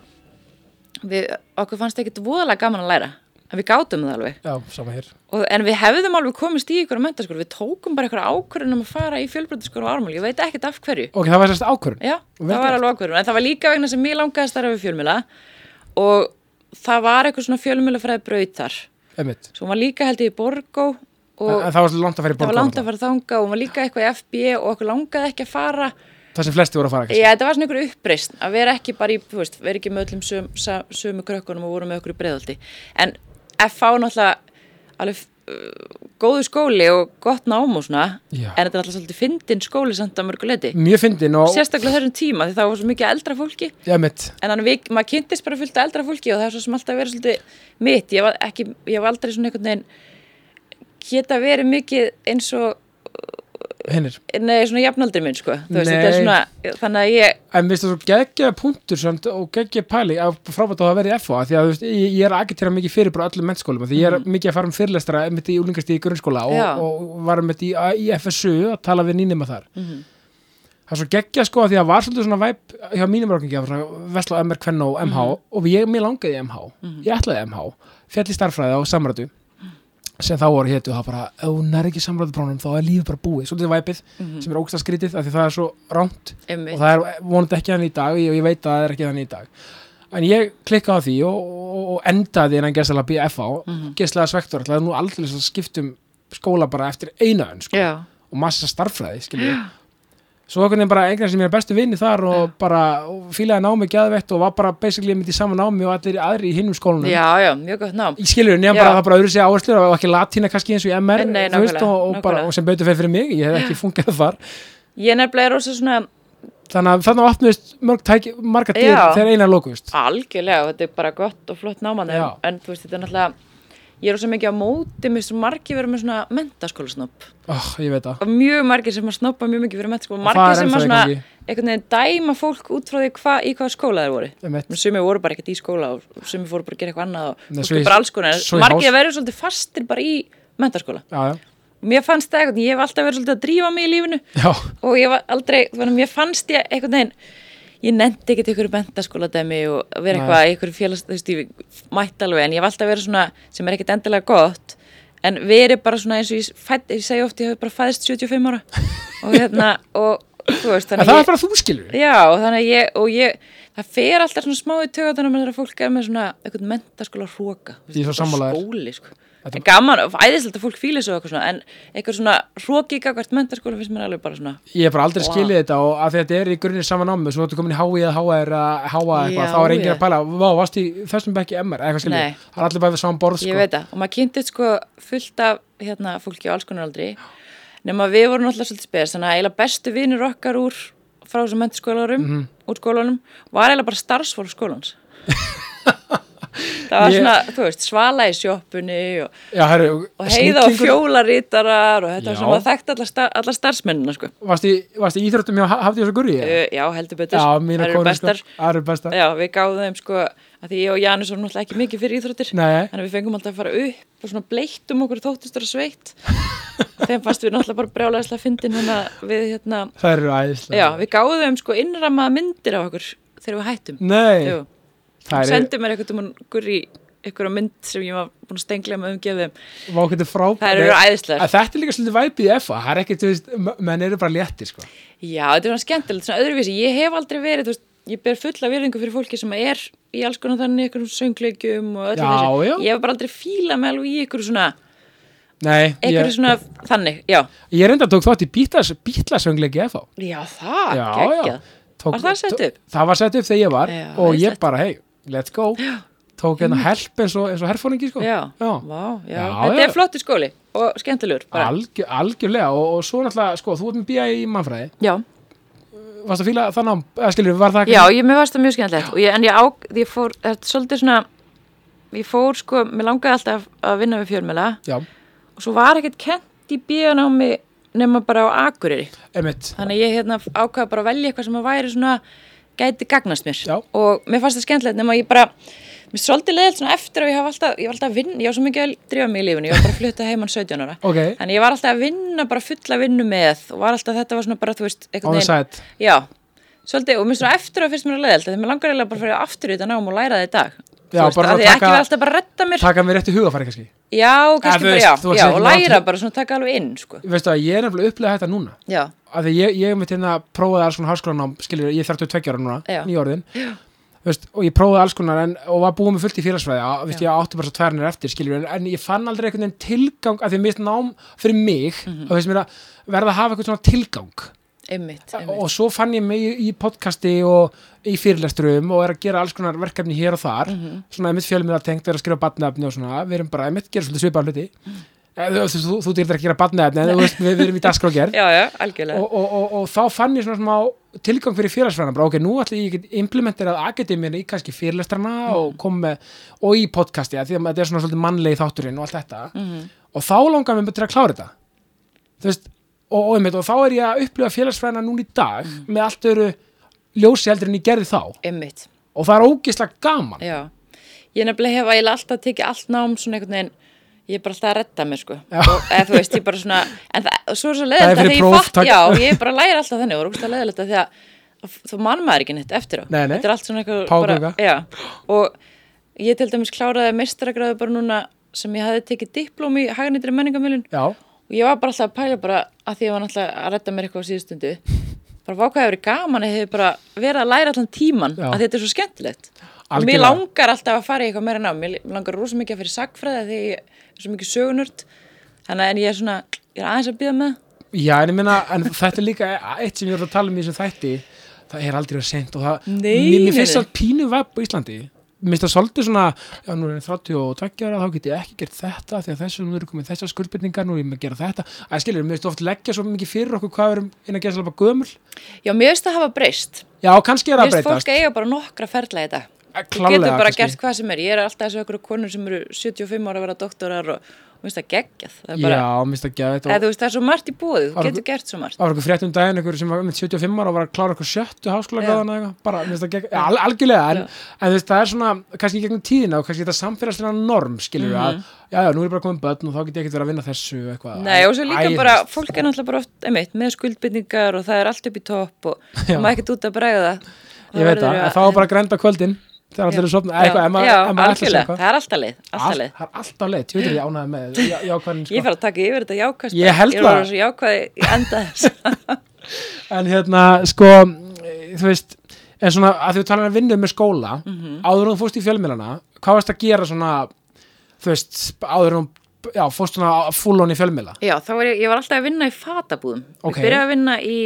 við, okkur fannst ekkit voðalega gaman að læra en við gátum það alveg
já, sama hér.
og, en við hefðum alveg komist í ykkur mentaskóla, við tókum bara ykkur ákvörðin um að fara í fjölbreytaskóla á ármál, ég veit ekkert af hverju
Ok, það var sérst ákvörðun.
já,
Vel
það var
gert.
alveg ákvörðin, en það var líka vegna sem mér langaði að starfa við fjölmjöla og það var eitthvað svona fjölmjölafræði braut þar,
Einmitt.
svo hún var líka held ég í Borgó
En
og
en það var svolítið langt að fara í
það var langt
borgarlanda,
að fara þanga og hún var líka eitthvað í FB og okkur langaði ekki að fara
það sem flesti voru að fara kannski.
Já, þetta var svona ykkur uppreist að vera ekki bara í, þú veist, vera ekki með öllum söm, sa- sömu krökkunum og voru með okkur í breiðaldi en FH náttúrulega alveg uh, góðu skóli og gott nám og svona
Já.
en þetta er alltaf svolítið fyndin skóli samt að mörguleiti
Mjög fyndin og,
sérstaklega á þessum tíma því það var svo mikið eldra fólki
já, mitt,
en hann, við, maður kynntist bara fullt af eldra fólki og það er svo sem alltaf verið svolítið mitt ég var, ekki, ég var aldrei svona einhvern veginn geta verið mikið eins og
hinnir.
nei, svona jafnaldri minn sko Þú veist,
Nei.
þetta er svona, þannig að ég
En viðstu svo geggja punktur samt, og geggja pæli að frábært á að vera í FH af því að þú veist, ég, ég er að agitera mikið fyrir bara öllum mennskólum af því ég er mikið að fara um fyrirlestra mitt í úlingast í grunnskóla
Já.
og, og var mitt í, í FSU að tala við nýnima þar Það er svo geggja sko af því að var svolítið svona væp hjá mínum rákingi af svona Vesla MR Kvenna og MH og ég, mér langaði í MH ég ætlaði í MH, fjall í starffræði á samrætu sem þá voru hétu það bara, ef hún er ekki samræðuprónum þá er lífið bara búið, svolítið væpið sem er ógsta skrítið af því það er svo rámt og
einmitt,
það er vonandi ekki hann í dag og ég veit að það er ekki hann í dag en ég klikkaði á því og, og, og endaði innan gæstlega BFA mm
Mhm.
-hmm. gæstlega svektur, það er nú aldrei að skiptum skóla bara eftir eina önn sko,
já
og massa starffræði skilur við svo okkur nefnir bara einhvern sem ég er bestu vinni þar og bara og fílaði námi geðvett og var bara basically mitt í sama námi og allir aðri í hinnum skólanum
Já, já, mjög gott nám.
Ég skilur, nefnum
Já.
bara að það bara öðru segja áherslur og ekki latína kannski eins og í MR
Nei,
þú veist,
nákvæmlega,
og, og, bara,
nákvæmlega.
og sem betur fyrir fyrir mig, ég hef ekki fungið þar
Ég nefnilega er rosa svona
þannig að þannig opnust mörg tæki, marga dyr
Já.
þegar eina lókuðust
algjörlega og þetta er bara gott og flott náman en,
Já.
en þú veist, þetta er náttúrulega ég er rosa mikið á móti mér sem margir verið með svona mentaskólasnopp
oh, ég veit það
og mjög margir sem að snoppa mjög mikið fyrir mentaskóla
það er
margir sem
ennþá í
að svona
gangi.
einhvern veginn dæma fólk út frá því hva, í hvaða skóla þeir voru
Einmitt.
sumi voru bara ekkert í skóla og sumi fóru bara að gera eitthvað annað og
Nei,
fólk
svo í-
er bara alls konar
svo í
en margir
hás-
verður svolítið fastir bara í mentaskóla
já, já.
mér fannst það eitthvað, ég hef alltaf verið svolítið að drífa mig í lífinu
já,
og ég var aldrei, þannig að mér fannst ég einhvern veginn, ég nefndi ekkert ykkur mentaskóladæmi og vera
Nei.
eitthvað, ykkur félags, þú veist, ég mætti alveg, en ég valdi að vera svona, sem er ekkert endilega gott, en verið bara svona eins og ég, fætt, ég segi oft, ég hef bara fæðist 75 ára og hérna, og þú veist,
En
þannig
það
að
er bara þú skilur
ég, já, og þannig að ég, og ég, það fer alltaf svona smá í tögatunum þegar fólk er með svona eitthvað mentaskóla hróka,
Ég er svo sammála þér.
skóli, sko.
Þetta-
En gaman, og æðislegt að fólk fýlir svo eitthvað svona, en eitthvað svona hróki gagvart mentaskóla finnst mér alveg bara svona,
Ég hef bara aldrei
Vá.
skilið þetta og að þetta er í grunnir saman námið Svo þú komin í HÍ eða HÍ eða HÍ eitthvað
Já,
Þá er enginn
ég.
að pæla, vá, varst í þessum bekki MR eða eitthvað skilur
Nei.
Það er allir bara við saman borð sko
Ég veit það, og maður kynntist sko fullt af hérna, fólki á alls konar aldri nema við vorum alltaf svolítið spes þannig að eiginlega bestu vinur okkar úr frá þessum mentaskólarum,
Mhm.
úr skólanum var eiginlega bara starfsfólk skólans Það var
Ég-
svona, þú veist, svala í sjoppunni og,
Já, herru,
og heiða og
snillingur.
fjólarítarar og þetta var svona,
Já.
maður þekkt alla, star, alla starfsmennina sko.
Varst í- varst í íþróttum hjá Hafdís og Gurri? eða?
Uh, Já, heldur betur,
Já,
Þær
mína
eru
kónu sko
bestar
Það eru bestar
Já, við gáðum þeim sko að því ég og Janus vorum náttúrulega ekki mikið fyrir íþróttir
Nei.
þannig að við fengum alltaf að fara upp og svona bleittum okkur þóttustur að sveitt og þeim fannst við náttúrulega bara brjálæðislega fyndin hérna við hérna
Það eru æðislega
já, við gáðum þeim sko innramaða myndir af okkur þegar við hættum
Nei,
Jú,
það er
sendu mér eitthvað um okkur í einhverja mynd sem ég var búin að stengla með umgefið þeim
vákvæmdi frábæð
Þær eru æðislegar.
Þetta er líka svolítið væpið í FA Það er ekkert, þú veist, m- menn eru bara léttir sko
Já, þetta er svona skemmtilegt, svona öðruvísi. Ég hef aldrei verið, þú veist, ég ber fulla virðingu fyrir fólki sem er í alls konar þannig, einhverjum söngleikjum og öllu
Já,
þessu.
já.
Ég hef bara aldrei fílað með alveg í einhverju svona,
Nei,
einhverju
ég,
svona þannig, já.
ég reynda tók þátt í bítlasöngleiki FA
Já, það,
Já,
Ah, geggjað.
já. Tók,
Var það sett upp?
Það var sett upp þegar ég var
Já,
og ég
æðislegt.
bara, hei, let's go tók hérna help eins og, eins og herfóringi sko.
Já,
já.
Vá, já.
Já,
þetta
já.
er flottur skóli og skemmtilegur bara.
Algjör, algjörlega og, og svo náttúrulega, sko, þú ert með BI í mannfræði
Já,
varst að fíla það nám, eða skilur, var það
já ég, mér varst það mjög skemmtilegt og ég, en ég á, ég fór, þetta er svolítið svona, ég fór sko, mér langaði alltaf að vinna við fjölmjöla
já,
og svo var ekkert kent í bíónámi nema bara á Akureyri.
emitt
Þannig að ég hérna ákvaða bara að velja eitthvað sem að væri svona gæti gagnast mér
Já.
og mér fannst það skemmtilegt nema ég bara mér er svolítið leðilt svona eftir að ég hafa alltaf ég var alltaf að vinna, ég var svo mikið að drífa mig í lífinu ég var bara að flutta heimann 17 ára
ok,
þannig að ég var alltaf að vinna bara fulla vinnu með og var alltaf þetta var svona bara þú
on
veist einhvern
the side
já, svolítið og mér er svona eftir að finnst mér að leðilt þegar mér langar eiginlega bara að fara aftur í þetta nám og læra það í dag
Já, bara
að
að
því ekki
taka-
vera alltaf bara að redda mér
taka mér rétt í hugafæri kannski
já,
þú
kannski
veist,
bara
þú
já,
ert
já
ekki
og
bara-
læra bara svona taka alveg inn sko.
veistu að ég er nefnilega upplega þetta núna
já,
af því ég, ég mitt hérna prófaði alls konar háskólanám skilur, ég er 32 ára núna,
Já.
nýjórðin veist, og ég prófaði alls konar en, og var búið með fullt í félagsfræði á, veist, ég átti bara svo tværnir eftir skilur, en, en ég fann aldrei einhvern veginn tilgang af því mist nám fyrir mig mm
Mhm.
-hmm. og veist mér að verða að hafa einhvern svona tilgang
einmitt, einmitt.
og svo fann ég mig í, í podcasti og í fyrirlesturum og er að gera alls konar verkefni hér og þar
Mhm.
svona einmitt fjölmiða tengt, er að skrifa batnaefni og svona, við erum bara einmitt, gera svolítið svipað hluti
Mhm.
Eh, þú, þú, þú, þú dyrtir ekki að gera batnaefni en þú veist, við, við erum í dagskrágerð
já, já, algjörlega
og, og, og, og þá fann ég svona smá tilgang fyrir félagsfræðan bara ok, nú ætla ég að implementera akademíuna í kannski fyrirlestrana og kom með og í podcasti, af því að þetta er svona svolítið mannlegi þátturinn og allt þetta og þá langar mér betur að klára þetta þú veist, og, og, einmitt, og þá er ég að upplifa félagsfræðina núna í dag með allt öru ljósi heldur en ég gerði þá
einmitt
og það er ógislega gaman
Já, ég nefnilega hef eiginlega alltaf tekið allt nám svona einhvern veginn ég er bara alltaf að redda mér sko og eða þú veist, ég bara svona en það, og svo er
Það er
svo leiðilegt að
fyrir
því ég
próf,
fatt
takk.
já, ég er bara að læra alltaf þannig og rúst að leiðilegt að því að að þú mann maður ekki neitt eftir á
Nei, nei.
þetta er allt svona eitthvað
Páfagauka.
bara- já. og ég til dæmis kláraði meistaragraðu bara núna sem ég hafði tekið diplóm í hagnýttri menningamilun
Já,
og ég var bara alltaf að pæla bara að því ég var náttúrulega að redda mér eitthvað á síðustundu bara vákaði verið gaman eða hefur bara verið að læra allan tíman
Já.
að þetta er svo skemmtilegt og mér
Algjörlega.
langar alltaf að fara í eitthvað meira nám mér langar rosa mikið að fyrir sagfræði af því ég er svo mikið sögunurt þannig að en ég er svona, ég er aðeins að býða með
Já, en ég meina, en þetta er líka eitt sem ég voru að tala um í þessum þætti það er aldrei að sent og það
Nei,
mér, mér
nei,
finnst
nei.
það pínu vebb á Íslandi mér finnst það svolítið svona, já nú er ég 32 ára þá get ég ekki gert þetta því að þessu nú eru komið þessar skuldbyrningar, nú er ég með að gera þetta að skilur, mér finnst oft leggja svo mikið fyrir okkur hvað við erum inn að gera svolítið gömul
já, mér veist það hafa breyst
Já, kannski er það
mér
að
veist
breytast
fólk eiga bara nokkra ferla í dag þú
Klárlega,
getur bara
kannski.
gert hvað sem er ég er alltaf þessu okkur konur sem eru 75 ára að vera doktorar og, og veist það geggjað það er bara,
Já, mér finnst það gefa
eða,
þetta og
þú veist, það er svo margt í búið þú
Bara-
getur gert svo margt
Það var eitthvað frétt um daginn, einhver sem var með 75 ára og var að klára eitthvað sjöttu háskólagráðan eða eitthvað, bara, mér finnst það gegn, al, algjörlega, en, en þú veist, það er svona, kannski í gegnum tíðina og kannski þetta samfélagslega norm, skilur við
Mhm.
að, já, já, nú er ég bara komin börn og þá get ég ekkert verið að vinna þessu og eitthvað.
Nei, og svo líka
Æ,
bara,
þú veist,
fólk er náttúrulega bara oft, einmitt, með skuldbyrningar og það er allt upp í topp og
Já.
maður ekkert út að bregða.
ég veit það,
verður
en
að-
þá er bara að grenda á kvöldin þegar allir eru sofna,
Já,
eitthvað, ef maður
já,
ef maður ætlar sér
algjörlega,
eitthvað
það er alltaf leið, alltaf leið.
Allt- sko. það er alltaf leið, tjóður ég ánæði með já, já, hvernig,
Ég
sko.
fer að taka yfir þetta jákvæðst.
Ég held
Ég
það.
var svo jákvæði í enda þess.
en hérna, sko þú veist, en svona að þú talar að vinna með skóla,
Mhm.
áður en þú fórst í fjölmiðlana hvað varst að gera svona þú veist, áður en þú já, fórst svona full on í fjölmiðla
Já, þá var ég, ég var alltaf að vinna í fatabúðum.
Ok.
Ég byrjaði að vinna í,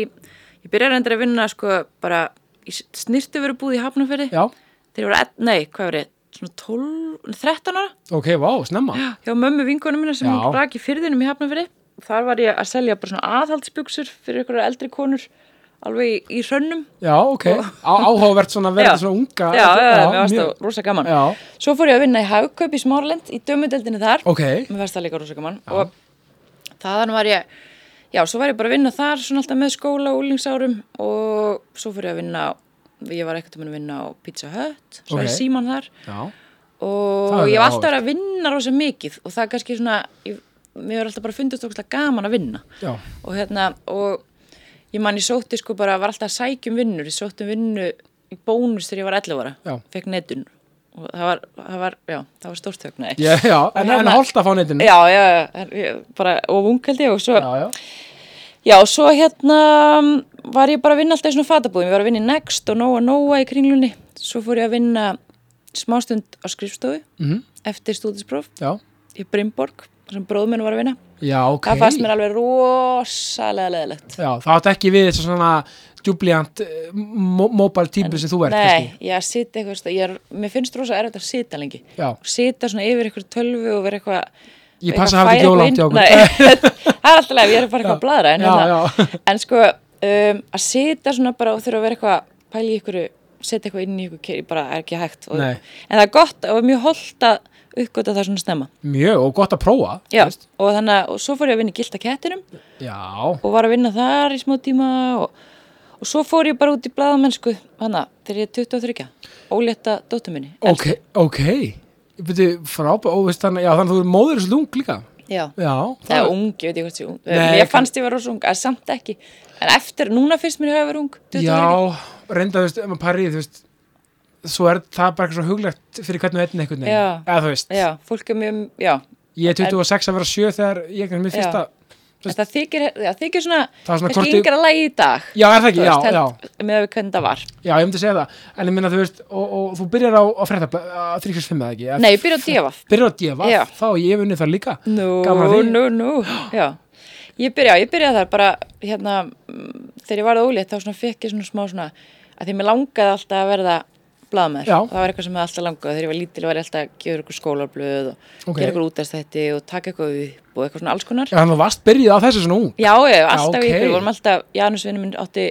ég byrjaði reyndar að vinna sko bara í snirtuverubúð í Hafnumferði.
já,
Þeir voru, ell- nei, hvað var ég, svona 12, 13 ára?
ok, vá, snemma
Já, hjá mömmu vinkonum minna sem
Já.
hún rak í fyrðinum í Hafnafyrði. Þar var ég að selja bara svona aðhaldsbjöksur fyrir ykkur eldri konur alveg í, í hrönnum.
já, ok, Á, áhugavert svona að vera
Já.
svona unga
Já, já, já, mér varst
mjög-
það rosa gaman.
já,
Svo fór ég að vinna í Haugkaup í Smáralind í dömudeldinni þar.
ok,
Mér varst það líka rosa gaman. Og þaðan var ég, já, svo var ég bara að vinna þar svona alltaf með skóla og úlingsárum og svo fór ég að vinna, ég var ekkert að vinna á Pizza Hut, svo var
Ok.
ég síman þar
já Það
og
er
ég hef
áhugavert.
alltaf verið að vinna rosa mikið og það er kannski svona ég, mér er alltaf bara fundist okkur gaman að vinna
já,
og hérna og ég man ég sótti sko bara var alltaf að sækjum vinnur, ég sótti um vinnu í bónus þegar ég var 11 ára
Já.
fekk netun og það var, það var, já, það var stórt þögn nei.
já, já, en, en
hérna-
holdt að fá netinu
já, já, já, en ég bara og vungaldi og svo, já.
já, já.
og svo hérna mm, var ég bara að vinna alltaf í svona fatabúðum ég var að vinna í Next og Nóa Nóa í kringlunni svo fór ég að vinna smástund á skrifstofu
Mhm.
eftir stúdispróf
Já,
í Brynborg þar sem bróðmennu var að vinna
já, ok.
það fannst mér alveg rosalega leðilegt
Já, það átt ekki við þessu svona djúblíant mobile típu sem þú ert,
nei,
kannski.
ég sit eitthvað veist, ég er, mér finnst rosa erfitt að sita lengi
Já,
sita svona yfir eitthvað tölvu og vera eitthvað
Ég
eitthvað
passa að hafa
færa
ekki
eitthvað
jólangt
inn-
hjá okkur.
Nei, það er alltaf leið, ég er bara eitthvað að bladra en,
Já,
hérna, en sko um, að sita svona bara og þurfa að vera eitthvað pæli í ykkur, setja eitthvað inn í ykkur keri, bara er ekki hægt og,
Nei.
en það er gott og mjög holdt að uppgöta það svona snemma
mjög og gott að prófa.
Já,
veist.
og þannig að og svo fór ég að vinna í gilda kettinum
Já,
og var að vinna þar í smá tíma og, og svo fór ég bara út í blaðamennsku hana, þegar ég er 23 ólétta dóttur minni
ok, ok. Byrju, frábæ, ó, veist þannig, já, þannig að þú er móður þessu lung líka.
já,
Já,
það er ung, ég veit ekki hvort ég er ung
Nei,
mér
kann-
fannst ég vera rosa ung, að samt ekki en eftir, núna finnst mér ég hafa verið ung 23.
Já, reynda, þú veist, ef maður parið, þú veist, svo er það bara eitthvað svo huglegt fyrir hvernig einn einhvern veginn.
Já.
Eða þú veist,
já, fólk er mjög, já
ég er 26 að vera 7 þegar ég er mér
Já.
fyrsta.
en það þykir, já, þykir svona,
Það er svona
kannski
korti-
yngra lagi í dag
Já, er það ekki? Já, já.
með að við hvernig það var
Já, ég myndi segja það, en ég minna þú veist og, og þú byrjar á, á frétta, á 365 eða ekki Eða
nei, ég byrja að djöfa
Byrjar á djöfa,
Já.
þá ég hef unnið það líka Gaman að
Nú,
því.
nú, nú, já. Ég byrja, ég byrjaði þar bara, hérna, mm, þegar ég varði ólétt þá svona fekk ég svona smá svona, að því mér langaði alltaf að verða blaðmaður.
Já.
Það var eitthvað sem ég alltaf langaði. Þegar ég var lítil var ég alltaf að gefa ykkur skólarblöð og
Ok.
gera ykkur útastætti og taka eitthvað upp og eitthvað svona alls konar.
Já, þannig að þú varst byrjuð á þessu svona ung
Já, ég, alltaf
ok.
í ykkur, við vorum alltaf, Janusvinni minn átti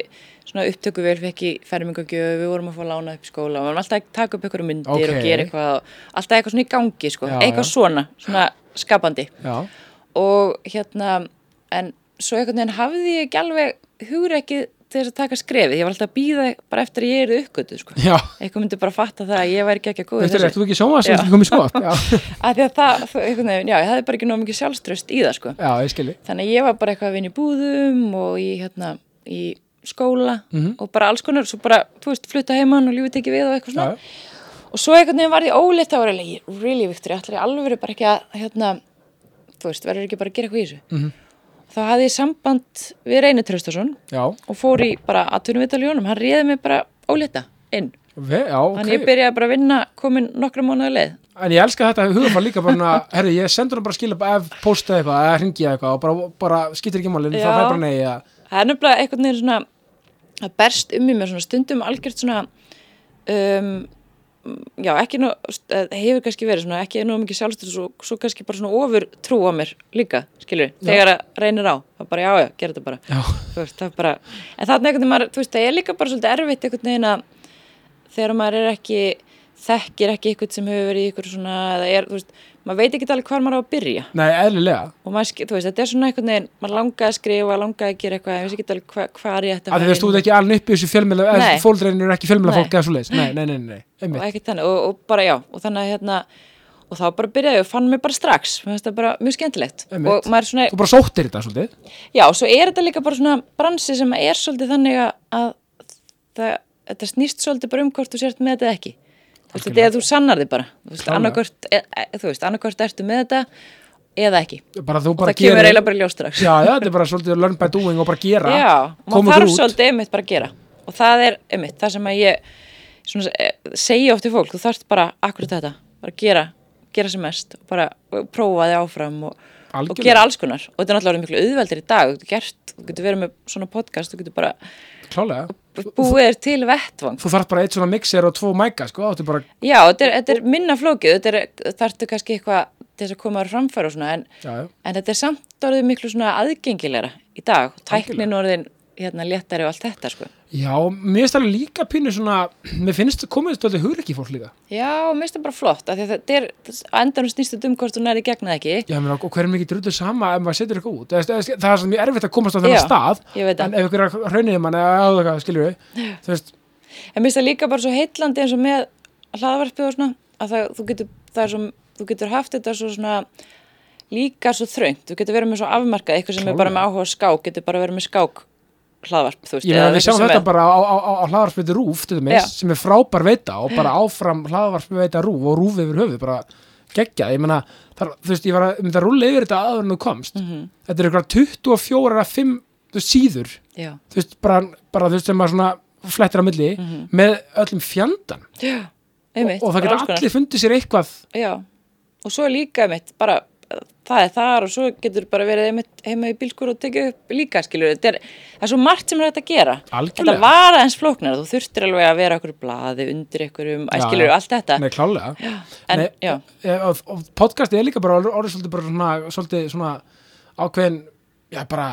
svona upptöku vel, fekk í fermingagjöf, við vorum að fá lána upp í skóla, við vorum alltaf að taka upp ykkur myndir
Ok.
og gera eitthvað, og alltaf eitthvað svona í gangi, sko,
Já,
eitthvað
já.
svona, svona skapandi
Já,
og hérna en svo einhvern veginn hafði ég ekki alveg hugur ekki til þess að taka skrefið ég var alltaf að býða bara eftir að ég er uppgötu sko.
já,
eitthvað myndi bara fatta það að ég væri ekki ekki að góða
þetta er rétt, þú ekki sjóma
Já.
sem ekki komið sjóma já.
af því að það, það- einhvern veginn, já, ég hafði bara ekki nóg mikið sjálfströst í það sko.
já, ég skilji
þannig að ég var bara eitthvað að vinna í búðum og í, hérna, í skóla
Mhm.
og bara alls konar, svo bara, þú veist, flutta heimann og lífið tekið við og eitthvað svona
Já,
og svo einhvern veginn var ég óleitt að vera alveg, really Victor, ég ætlar ég alveg bara ekki að, hérna, þú veist, verður ekki bara að gera eitthvað í þessu. Mm Þá hafði ég samband við Reynir Traustason
já,
og fór í bara atvinnum viðtal í honum, hann réði mig bara óleita inn.
ve, já, ok
Þannig ég byrjaði bara að vinna komin nokkra mánuði leið.
En ég elska þetta, hugafar líka bara svona, Herri, ég sendur hann bara skilja bara ef postaði eitthvað eða hringi ég eitthvað og bara, bara skiptir ekki málin þá
Já.
það er bara nei, já,
Það er nefnilega einhvern veginn svona, það berst um í mér svona stundum algjört svona, um, já, ekki nú, það hefur kannski verið svona, ekki nú mikið sjálfstöð, svo, svo kannski bara svona ofur trú á mér líka, skilur, þegar að reynir á, það er bara, já, já, gera þetta bara.
já,
þú veist, það er bara, en þannig einhvern veginn maður, þú veist, það er líka bara svolítið erfitt einhvern veginn að þegar maður er ekki þekkir ekki einhvern sem hefur verið í ykkur svona, eða er, þú veist, maður veit ekki alveg hvar maður á að byrja
nei, eðlilega
og maður, ski- þú veist, þetta er svona einhvern veginn maður langaði að skrifa, langaði að gera eitthvað ég veist ekki alveg hva, hvar ég ætti
að
fara
því veist, þú
inn
ert ekki alveg upp í þessu fjölmjöla eða
Nei.
fóldreinu eru ekki fjölmjöla
Nei.
eða svo nei, nei, nei, nei,
og
einmitt
ekkert þannig, og, og bara já, og þannig að hérna og þá bara byrjaði ég og fann mig bara strax mér finnst það bara mjög skemmtilegt
Einmitt.
og maður svona,
Þú bara sóttir þetta svolítið
já, svo er þetta líka bara svona bransi sem er svolítið þannig að- að það þetta snýst svolítið bara um hvort þú sért með þetta eða ekki þú veist, þetta er að þú sannar þig bara þú veist,
Klárlega.
annarkvort, e, e, þú veist, annarkvort ertu með þetta eða ekki
bara þú
og
bara
það kemur
gerir-
eiginlega bara í ljós strax
já, já, þetta er bara svolítið learn by doing og bara gera
já, maður
koma þér
þarf
út
svolítið einmitt bara að gera og það er einmitt, það sem að ég svona, eh, segi oft til fólk, þú þarft bara akkurat þetta, bara gera gera sem mest, og bara eh, prófa þig áfram og, og
Algjörlega.
gera alls konar og þetta er náttúrulega orðið miklu auðveldir í dag, þú getur gert þú getur verið með svona podcast, þú getur bara
klálega,
búið þér til vettvang
þú þarf bara eitt svona mixer og tvo mæka sko, þetta er bara,
Já, þetta er, þetta er minna flókið, þetta er, þarftu kannski eitthvað til þess að koma þér á framfæri og svona, en,
já, já
en þetta er samt orðið miklu svona aðgengilegra í dag,
Algjörlega.
tæknin orðin hérna léttari og allt þetta, sko.
Já, mér finnst alveg líka pínu svona, mér finnst komið stöldið hugreikki fólk líka.
Já, mér finnst það bara flott, af því að þetta er, á endanum snýst þetta um hvort þú nærið gegna eða ekki.
Já, menn, og hver er mikið drullu sama ef maður setur eitthvað út? Eða, eða, það er svona mjög erfitt að komast á þennan
Já,
stað,
ég veit það.
en ef ykkur er hraunir mann eða áður eitthvað, skilur við, þú veist,
En mér finnst það líka bara svo heitlandi eins og með hlaðvarpið og svona, að það, þú, getur, það er svo, þú getur haft þetta svo svona líka svo þröngt, þú getur verið með svo afmarkað, eitthvað sem er bara með áhuga á skák, getur bara verið með skák hlaðvarp, þú veist.
ég
eða
meina, við
eitthvað
sjáum
sem
þetta
er-
bara á, á, á, á hlaðarspiti rúf, til
Já.
dæmis, sem er frábær veita og bara áfram hlaðarspiti veita rúf og rúf yfir höfuð, bara geggjað, ég meina, þar, þú veist, ég var að, ég myndi að rúlla yfir þetta aður en þú komst,
Mhm.
þetta er ykkur 24 að 5 þú veist, síður,
Já.
þú veist, bara, bara þú veist, sem maður svona flettir á milli
Mhm.
með öllum fjandan
Já, einmitt.
og það
bara alls
getur
konar.
allir fundið sér eitthvað
Já, og svo er líka einmitt, bara eh, það er þar og svo getur bara verið einmitt heima í bílskur og tekið upp líka, skilur. Þetta er, það er svo margt sem er hægt að gera.
Algjörlega.
Þetta var aðeins flóknar, þú þurftir alveg að vera okkur blaði undir ykkur um,
Já,
skilur,
já.
allt þetta.
Nei, klálega
en,
Nei,
já,
e, og, og podcastið er líka bara orðið orðið svolítið bara svona, svolítið svona ákveðin, já bara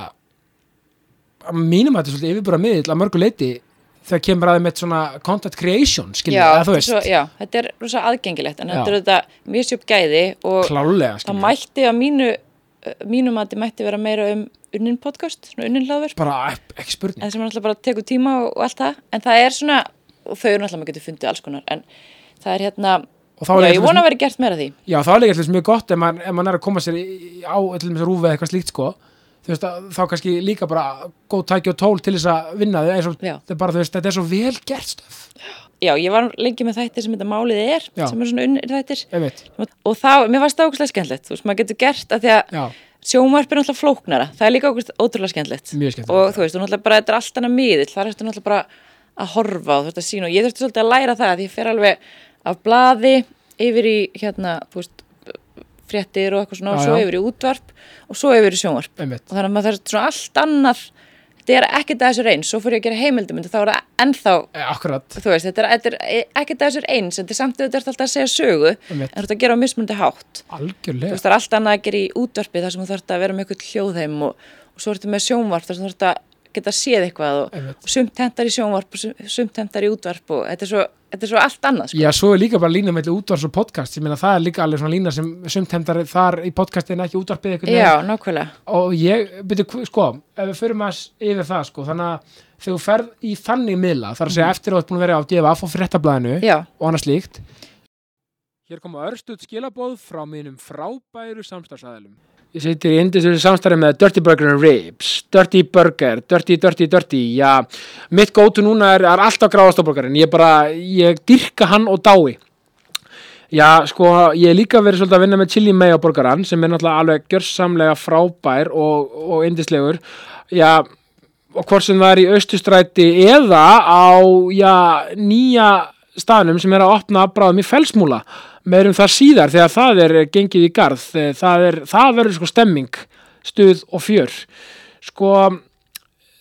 að mínum að þetta er svolítið yfirbúra miðill að mörgu leiti þegar kemur aðeins með svona content creation skiljum,
já,
eða þú
þetta er
veist,
svo, já, þetta er rosa aðgengilegt, en
Já.
þetta er þetta mjög sjöp gæði og
klálega
það
skiljum,
mætti að mínu, eh, mínum að þetta mætti vera meira um unnin podcast, svona unnin hlaðverk.
bara ek- ekki spurning
en sem er náttúrulega bara tekur tíma og, og allt það en það er svona, og þau eru náttúrulega maður getur fundið alls konar, en það er hérna
Og þá er
já,
líka
ég
svona
vona að vera gert meira af því
Já, það er líka eitthvað mjög gott ef maður, ef maður er að koma sér í, í- á allir með rúfið eða eitthvað slíkt sko þú veist, að, þá kannski líka bara góð tæki og tól til þess að vinna þau eins og
Já.
þetta er bara, þú veist, þetta er svo vel gert stöf
já, ég var lengi með þættir sem þetta málið er
Já.
sem er svona unnir þættir
ég veit,
og þá, mér varst það ógustlega skemmtilegt þú veist, maður getur gert að því að
já,
sjónvarp er náttúrulega flóknara, það er líka okkur ótrúlega skemmtilegt
Mjög skemmtilegt.
og þú veist, þú náttúrulega bara, þetta er allt annað miðill þar ertu náttúrulega bara að horfa og þú veist að sína og ég þurfti svolítið að læra það því ég fer alveg af blaði yfir í hérna, þú veist fréttir og eitthvað svona og
Já,
svo
já.
yfir í útvarp og svo yfir í sjónvarp
Einmitt.
og þannig að maður þarf svona allt annað þetta er ekkert að þessu reyns, svo fór ég að gera heimildumynd og þá er það ennþá
e, akkurat
þú veist, þetta er, þetta er ekkert að þessu er eins en þetta er samt að þetta er alltaf að segja sögu
Einmitt.
en þú ert að gera á mismunandi hátt þú
algjörlega,
veist, það er allt annað að gera í útvarpi þar sem þú þarf að vera með eitthvað hljóðheim og, og svo ertu með sjónvarp þar sem þú þarf að geta séð eitthvað og,
Einmitt.
og sumt hendar í sjónvarp og sum- sumt hendar í útvarp og þetta er svo, þetta er svo allt annað sko.
já, svo er líka bara lína melli útvars og podcast, ég meina það er líka alveg svona lína sem sumtendar þar í podcastin ekki útvarpið einhvern
Já,
veginn.
nákvæmlega
og ég, byrju, sko ef við förum að yfir það sko þannig að þegar þú ferð í þannig miðla þar
Mhm.
að segja eftir að þú ert búin að vera á DFF og fréttablaðinu
Já,
og annað slíkt. Hér koma örstuð skilabóð frá mínum frábæru samstagsæðilum.
Ég situr í indisverðu samstarfi með Dirty Burger and Ribs, Dirty Burger, Dirty, Dirty, Dirty, já, mitt gótu núna er, er alltaf gráðastofborgarinn, ég bara, ég dyrka hann og dái. Já, sko, ég hef líka verið svolítið að vinna með chili mayo borgarann sem er náttúrulega alveg gjörsamlega frábær og, og indislegur. Já, og hvort sem það er í austustræti eða á, já, nýja staðnum sem er að opna bráðum í felsmúla. Meirum það síðar þegar það er gengið í garð. Eh, Það, er, það verður sko stemming, stuð og fjör. Sko,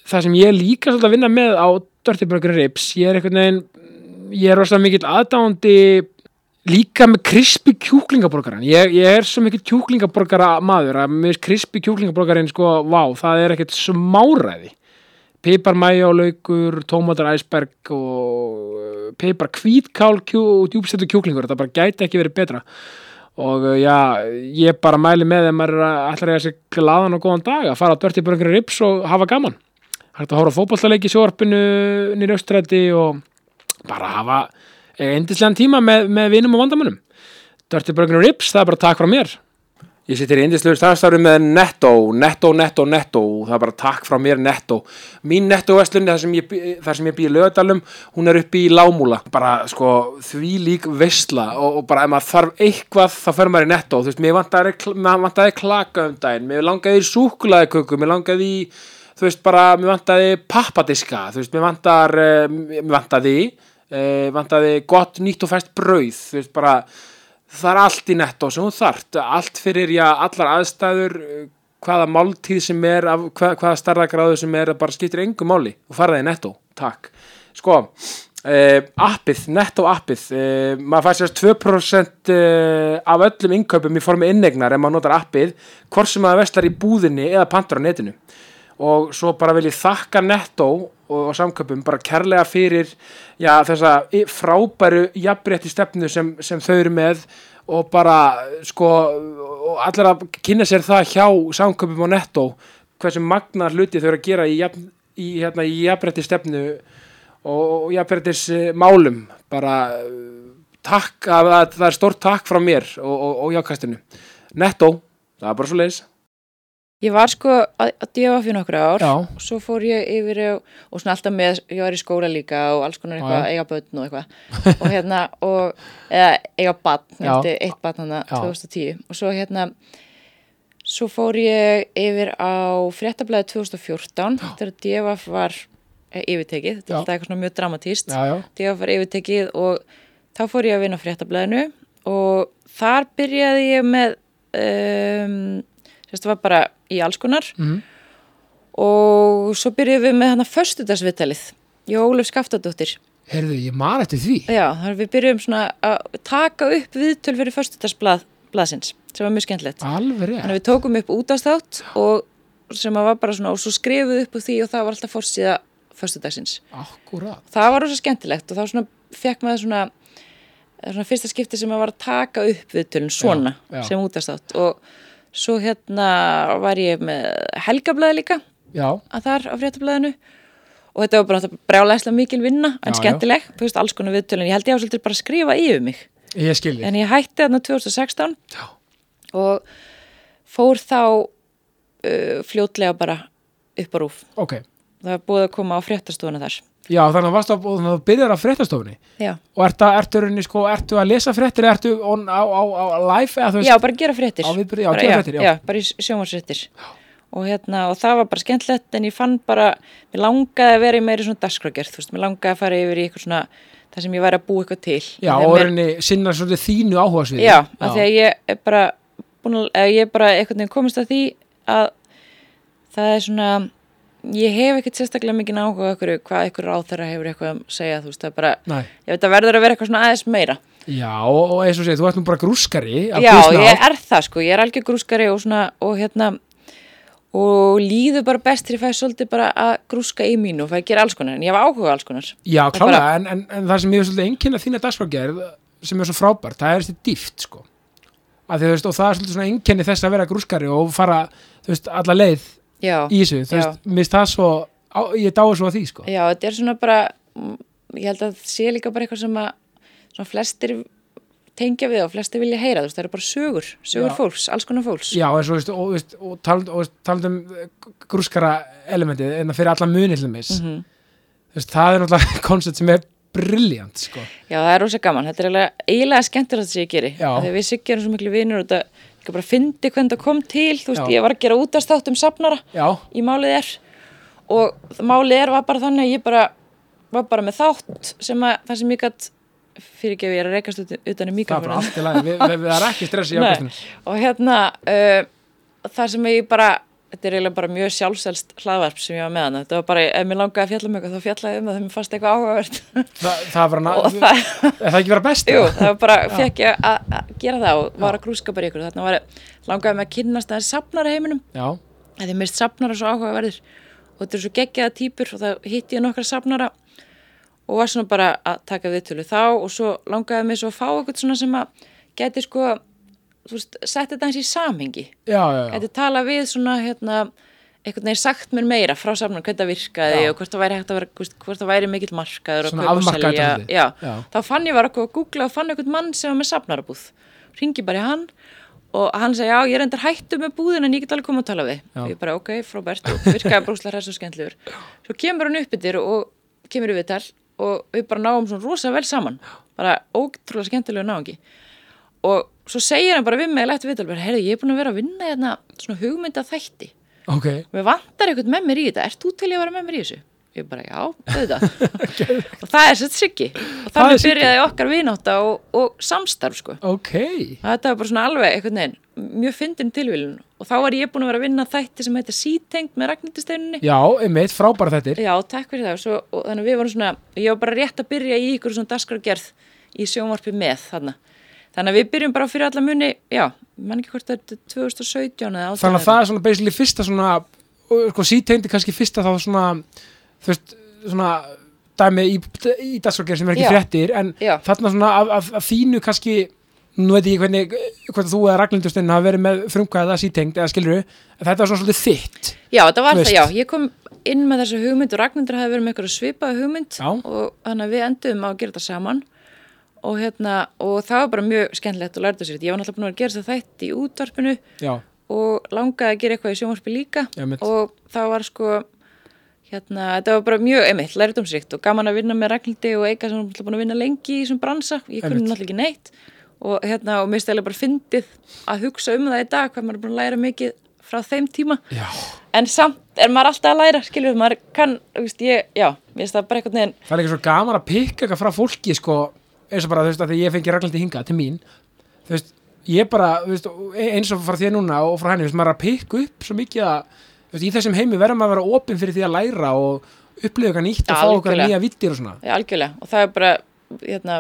það sem ég er líka svolítið að vinna með á Dirty Burger Rips, ég er einhvern veginn, ég er rosalega mikill aðdáandi líka með krispi kjúklingaborgaran ég, ég er svo mikið kjúklingaborgara maður að með krispi kjúklingaborgarin sko, vá, það er ekkert smáræði pipar mæjólaukur tómatar æsberg og uh, pipar kvítkál kjú, og djúbstættu kjúklingur, þetta bara gæti ekki verið betra og uh, já, ég bara mæli með þegar maður er að- ætlar að eiga sér glaðan og góðan dag að fara að dörti börnir rips og hafa gaman hægt að hóra fótballtaleiki í sjóarpinu nýri austræti og bara hafa eindislegan tíma með, með vinum og vandamönnum Dirty Burger and Rips, það er bara takk frá mér Ég sittir í indisluður starfstafri með Netto, Netto, Netto, Netto og það er bara takk frá mér Netto. Mín Netto-vestlun, þar sem ég, bý- þar sem ég býi lögadalum, hún er uppi í Lámúla. Bara sko því lík vesla og, og bara ef maður þarf eitthvað þá fer maður í Netto. Þú veist, mér vantaði, kl- mér vantaði klaka um daginn, mér langaði í súkulaðiköku, mér langaði í, þú veist, bara mér vantaði pappadiska, þú veist, mér vantar, eh, mér vantaði, eh, vantaði gott nýtt og fæst brauð, þú veist, bara það er allt í netto sem hún þart allt fyrir já, allar aðstæður uh, hvaða máltíð sem er af, hvað, hvaða starðagráðu sem er, það bara skiptir engu máli og fara það í netto, takk sko, eh, appið netto appið, eh, maður fær sérst 2% eh, af öllum innkaupum í formi innegnar ef maður notar appið hvort sem maður veslar í búðinni eða pantar á netinu og svo bara vil ég þakka Netto og, og samköpum bara kærlega fyrir já, þessa í- frábæru jafnrétti stefnu sem, sem þau eru með og bara sko og allir að kynna sér það hjá samköpum og Netto hversu magna hluti þau eru að gera í, jafn, í, hérna, í jafnrétti stefnu og, og jafnréttis eh, málum bara eh, takk að að það er stórt takk frá mér og, og, og jákastinu Netto, það er bara svo leiðis
Ég var sko að, að djöfa fyrir nokkru ár
Já.
og svo fór ég yfir og, og svona alltaf með, ég var í skóla líka og alls konar eitthvað,
Já,
eiga börn og eitthvað og hérna, og, eða eiga barn,
Já.
eftir eitt barn hana
Já.
2010 og svo hérna svo fór ég yfir á fréttablaði 2014 þegar djöfaf var eh, yfirtekið, þetta er
Já.
alltaf eitthvað svona mjög dramatíst
já, já,
DF var yfirtekið og þá fór ég að vinna á fréttablaðinu og þar byrjaði ég með um, sérst, það var bara í alls konar
Mhm.
og svo byrjuðum við með hann að föstudagsvitalið ég og Ólef Skaftadóttir
heyrðu, ég man eftir því
Já, þannig að við byrjuðum svona að taka upp viðtöl fyrir föstudagsblaðsins sem var mjög skemmtilegt
alveg rétt,
Þannig að við tókum upp útastátt og sem að var bara svona og svo skrifuð upp úr því og það var alltaf fórsíða föstudagsins
akkurat
það var rosa skemmtilegt og þá svona fekk maður svona, það er svona fyrsta skipti sem maður var að taka upp viðtölun svona
Já, já.
sem útastátt og svo hérna var ég með helgablaði líka
já,
að þar á fréttablaðinu og þetta var bara brjálæslega mikil vinna en
Já, já.
skemmtileg, þú veist alls konar viðtölun ég held ég á svolítið bara að skrifa yfir mig
ég skilði
en ég hætti þarna 2016
Já.
og fór þá uh, fljótlega bara upp á rúf
ok,
það var búið að koma á fréttastofuna þar
já, þannig að varstu að, þannig að þú byrjar á fréttastofunni
já
og ertu, að- ertu, ertu, sko, ertu að lesa fréttir ertu on, á, á, á live eða þú veist
Já, bara gera fréttir.
Á viðburði, já,
bara,
gera fréttir, já.
bara í sjónvarsfréttir. Og hérna, og það var bara skemmtilegt en ég fann bara, mér langaði að vera í meiri svona dagskrágerð, þú veist, mér langaði að fara yfir í eitthvað svona, það sem ég væri að búa eitthvað til.
Já,
Af því að
og
mér-
reyni sinna svolítið þínu áhuga sviði
Já, af því að ég er bara búin að, eða ég er bara einhvern veginn komist að því að það er svona ég hef ekkert sérstaklega mikið áhuga á ykkur, hvað ykkur ráþara hefur eitthvað að segja, þú veist, það er bara
Nei.
ég veit að verður að vera eitthvað svona aðeins meira
Já, og og eins og segið, þú ert nú bara grúskari af
Já,
guðsnáð.
ég er það sko, ég er algjör grúskari og svona, og hérna og líður bara best þegar ég fæ svolítið bara að grúska í mínu og fæ að gera alls konar, en ég hef áhuga á alls konar
Já,
Og
klálega,
bara-
en, en, en það sem ég er svolítið einkenna þína dagskrágerð sem er svo frábært, það er þessi dýft sko. að því, þú veist, og það er svolítið svona einkenni þess að vera grúskari og fara þú veist, alla leið
Já,
í þessu þú veist, minnst það svo, á, ég dái svo að því sko.
já, þetta er svona bara mm, ég held að það sé líka bara eitthvað sem að svona flestir tengja við og flestir vilja heyra, þú veist, það eru bara sögur sögur
Já.
fólks, alls konar fólks
Já, eins og, þú veist, og, þú veist, og talandi og, talandi um eh, grúskara elementið en það fyrir alla muni til þess mm
Mhm.
veist, það er náttúrulega koncept sem er briljant sko.
Já, það er rosa gaman, þetta er eiginlega, eiginlega skemmtilegt sem ég geri,
Já.
af því að við siggjum svo miklu vinur og þetta, ég bara fyndi hvernig það kom til, þú veist,
Já.
ég var að gera útastátt um safnara
Já,
í málið er og það- málið er var bara þannig að ég bara var bara með þátt sem að það sem ég gætt fyrirgefi ég er að reykast utan, um utan í
það er bara
mikrofónu
allt í lagi við, við, við erum ekki stressið í ákastinu
og hérna uh, það sem ég bara þetta er eiginlega bara mjög sjálfselst hlaðvarp sem ég var með hana, þetta var bara ef mér langaði að fjalla um eitthvað þá fjallaði ég um það þegar mér fannst eitthvað áhugavert
Þa, það var
og
að
það,
Er það ekki vera best?
jú, það var bara fekk ég að að gera það og var að grúska bara í ykkur þarna var, langaði mig að kynnast það er safnara heiminum
Já,
að þið mist safnara svo áhugaverðir og þetta er svo geggjaða týpur og það hitti ég nokkra safnara og var svona bara að taka viðtölu þá og svo langaði mig svo að fá eitthvað svona sem að geti sko þú veist, sett þetta eins í samhengi
já, já, já.
geti tala við svona hérna einhvern veginn sagt mér meira frá safnara hvern það virkaði
Já.
og hvort það væri hægt að vera hvort, hvort það væri mikill markaður og
Svona
kaupa og
afmarkaður
selja.
dálítið.
Já.
Já.
þá fann ég var okkur að googla og fann einhvern mann sem var með safnarabúð ringi bara í hann og hann segi, já, ég reyndar hættu með búðin en ég get alveg komið að tala við
Já.
og ég bara, ok, Fróbert, og virkaði brúslega hress og skemmtlegur svo kemur hann upp yfir og kemur í viðtal og við bara náum svona rosa vel saman bara ótrúlega skemmtilegu náungi og svo segir hann bara við mig eftir viðtal, bara, heyrðu, ég er búin að vera að vinna hérna svona hugmynda þætti
ok,
mér vantar eitthvað með mér í þetta, ert þú til í að vera með mér í þessu? Ég bara, já, auðvitað. og það er sett Siggi. Og
Það er
þannig
Siggi.
byrjaði okkar vináta og, og samstarf, sko.
ok
Þetta var bara svona alveg einhvern veginn, mjög fyndin tilvílun. Og þá var ég búin að vera að vinna þætti sem heitir Sítengt með Ragnhildisteinunni.
já, einmitt, frábæra þettir
Já, takk fyrir það. Svo, og þannig að við varum svona, ég var bara rétt að byrja í ykkur svona daskargerð í sjónvarpi með þarna. Þannig að við byrjum bara fyrir alla muni, já, mann ekki hvort þetta er 2017 eða 18
þannig að það er svona basically fyrsta svona og, sko sítegndi kannski fyrsta þá svona þú veist, svona dæmi í, í dagskrákjör sem er ekki
Já.
fréttir en
Já.
þarna svona af, af, af þínu kannski nú veit ég hvernig hvort þú eða Ragnhildurstinn hafa verið með frumkvæða sítengd eða skilur þetta var svona svolítið þitt
Já, þetta var
Þú veist.
það, já. Ég kom inn með þessa hugmynd og Ragnhildur hafði verið með eitthvað svipaða hugmynd
Já.
og þannig að við enduðum á að gera þetta saman og, hérna, og það var bara mjög skemmtilegt og lærðu sér þetta. Ég var náttúrulega búin að vera að gera þetta þætti í útvarpinu
já,
og langaði að gera eitthvað í sjónvarpi líka
Já, mitt.
og það var sko hérna, þetta var bara mjög einmitt, lærdomsrikt og gaman að vinna með Ragnhildi og Eika sem var náttúrulega búin að vinna lengi í þessum bransa ég kunni
Einmitt.
náttúrulega ekki neitt og, hérna, og mér stæðilega bara fyndið að hugsa um það í dag hvað maður er búin að læra mikið frá þeim tíma
já,
en samt er maður alltaf að læra skiljuð, maður kann, þú veist, ég, já mér finnst það bara einhvern veginn,
það er ekki svo gaman að pikka eitthvað frá fólki sko, eins og bara þú veist að því ég fengi Ragnhildi hingað til mín þú veist, ég bara þú veist, eins og frá þér núna og frá henni þú veist, maður er að pikka upp svo mikið að þú veist, í þessum heimi verður maður að vera opinn fyrir því að læra og upplifa eitthvað nýtt og
Já,
fá eitthvað
algjörlega.
nýja vittir og svona
já, algjörlega og það er bara, hérna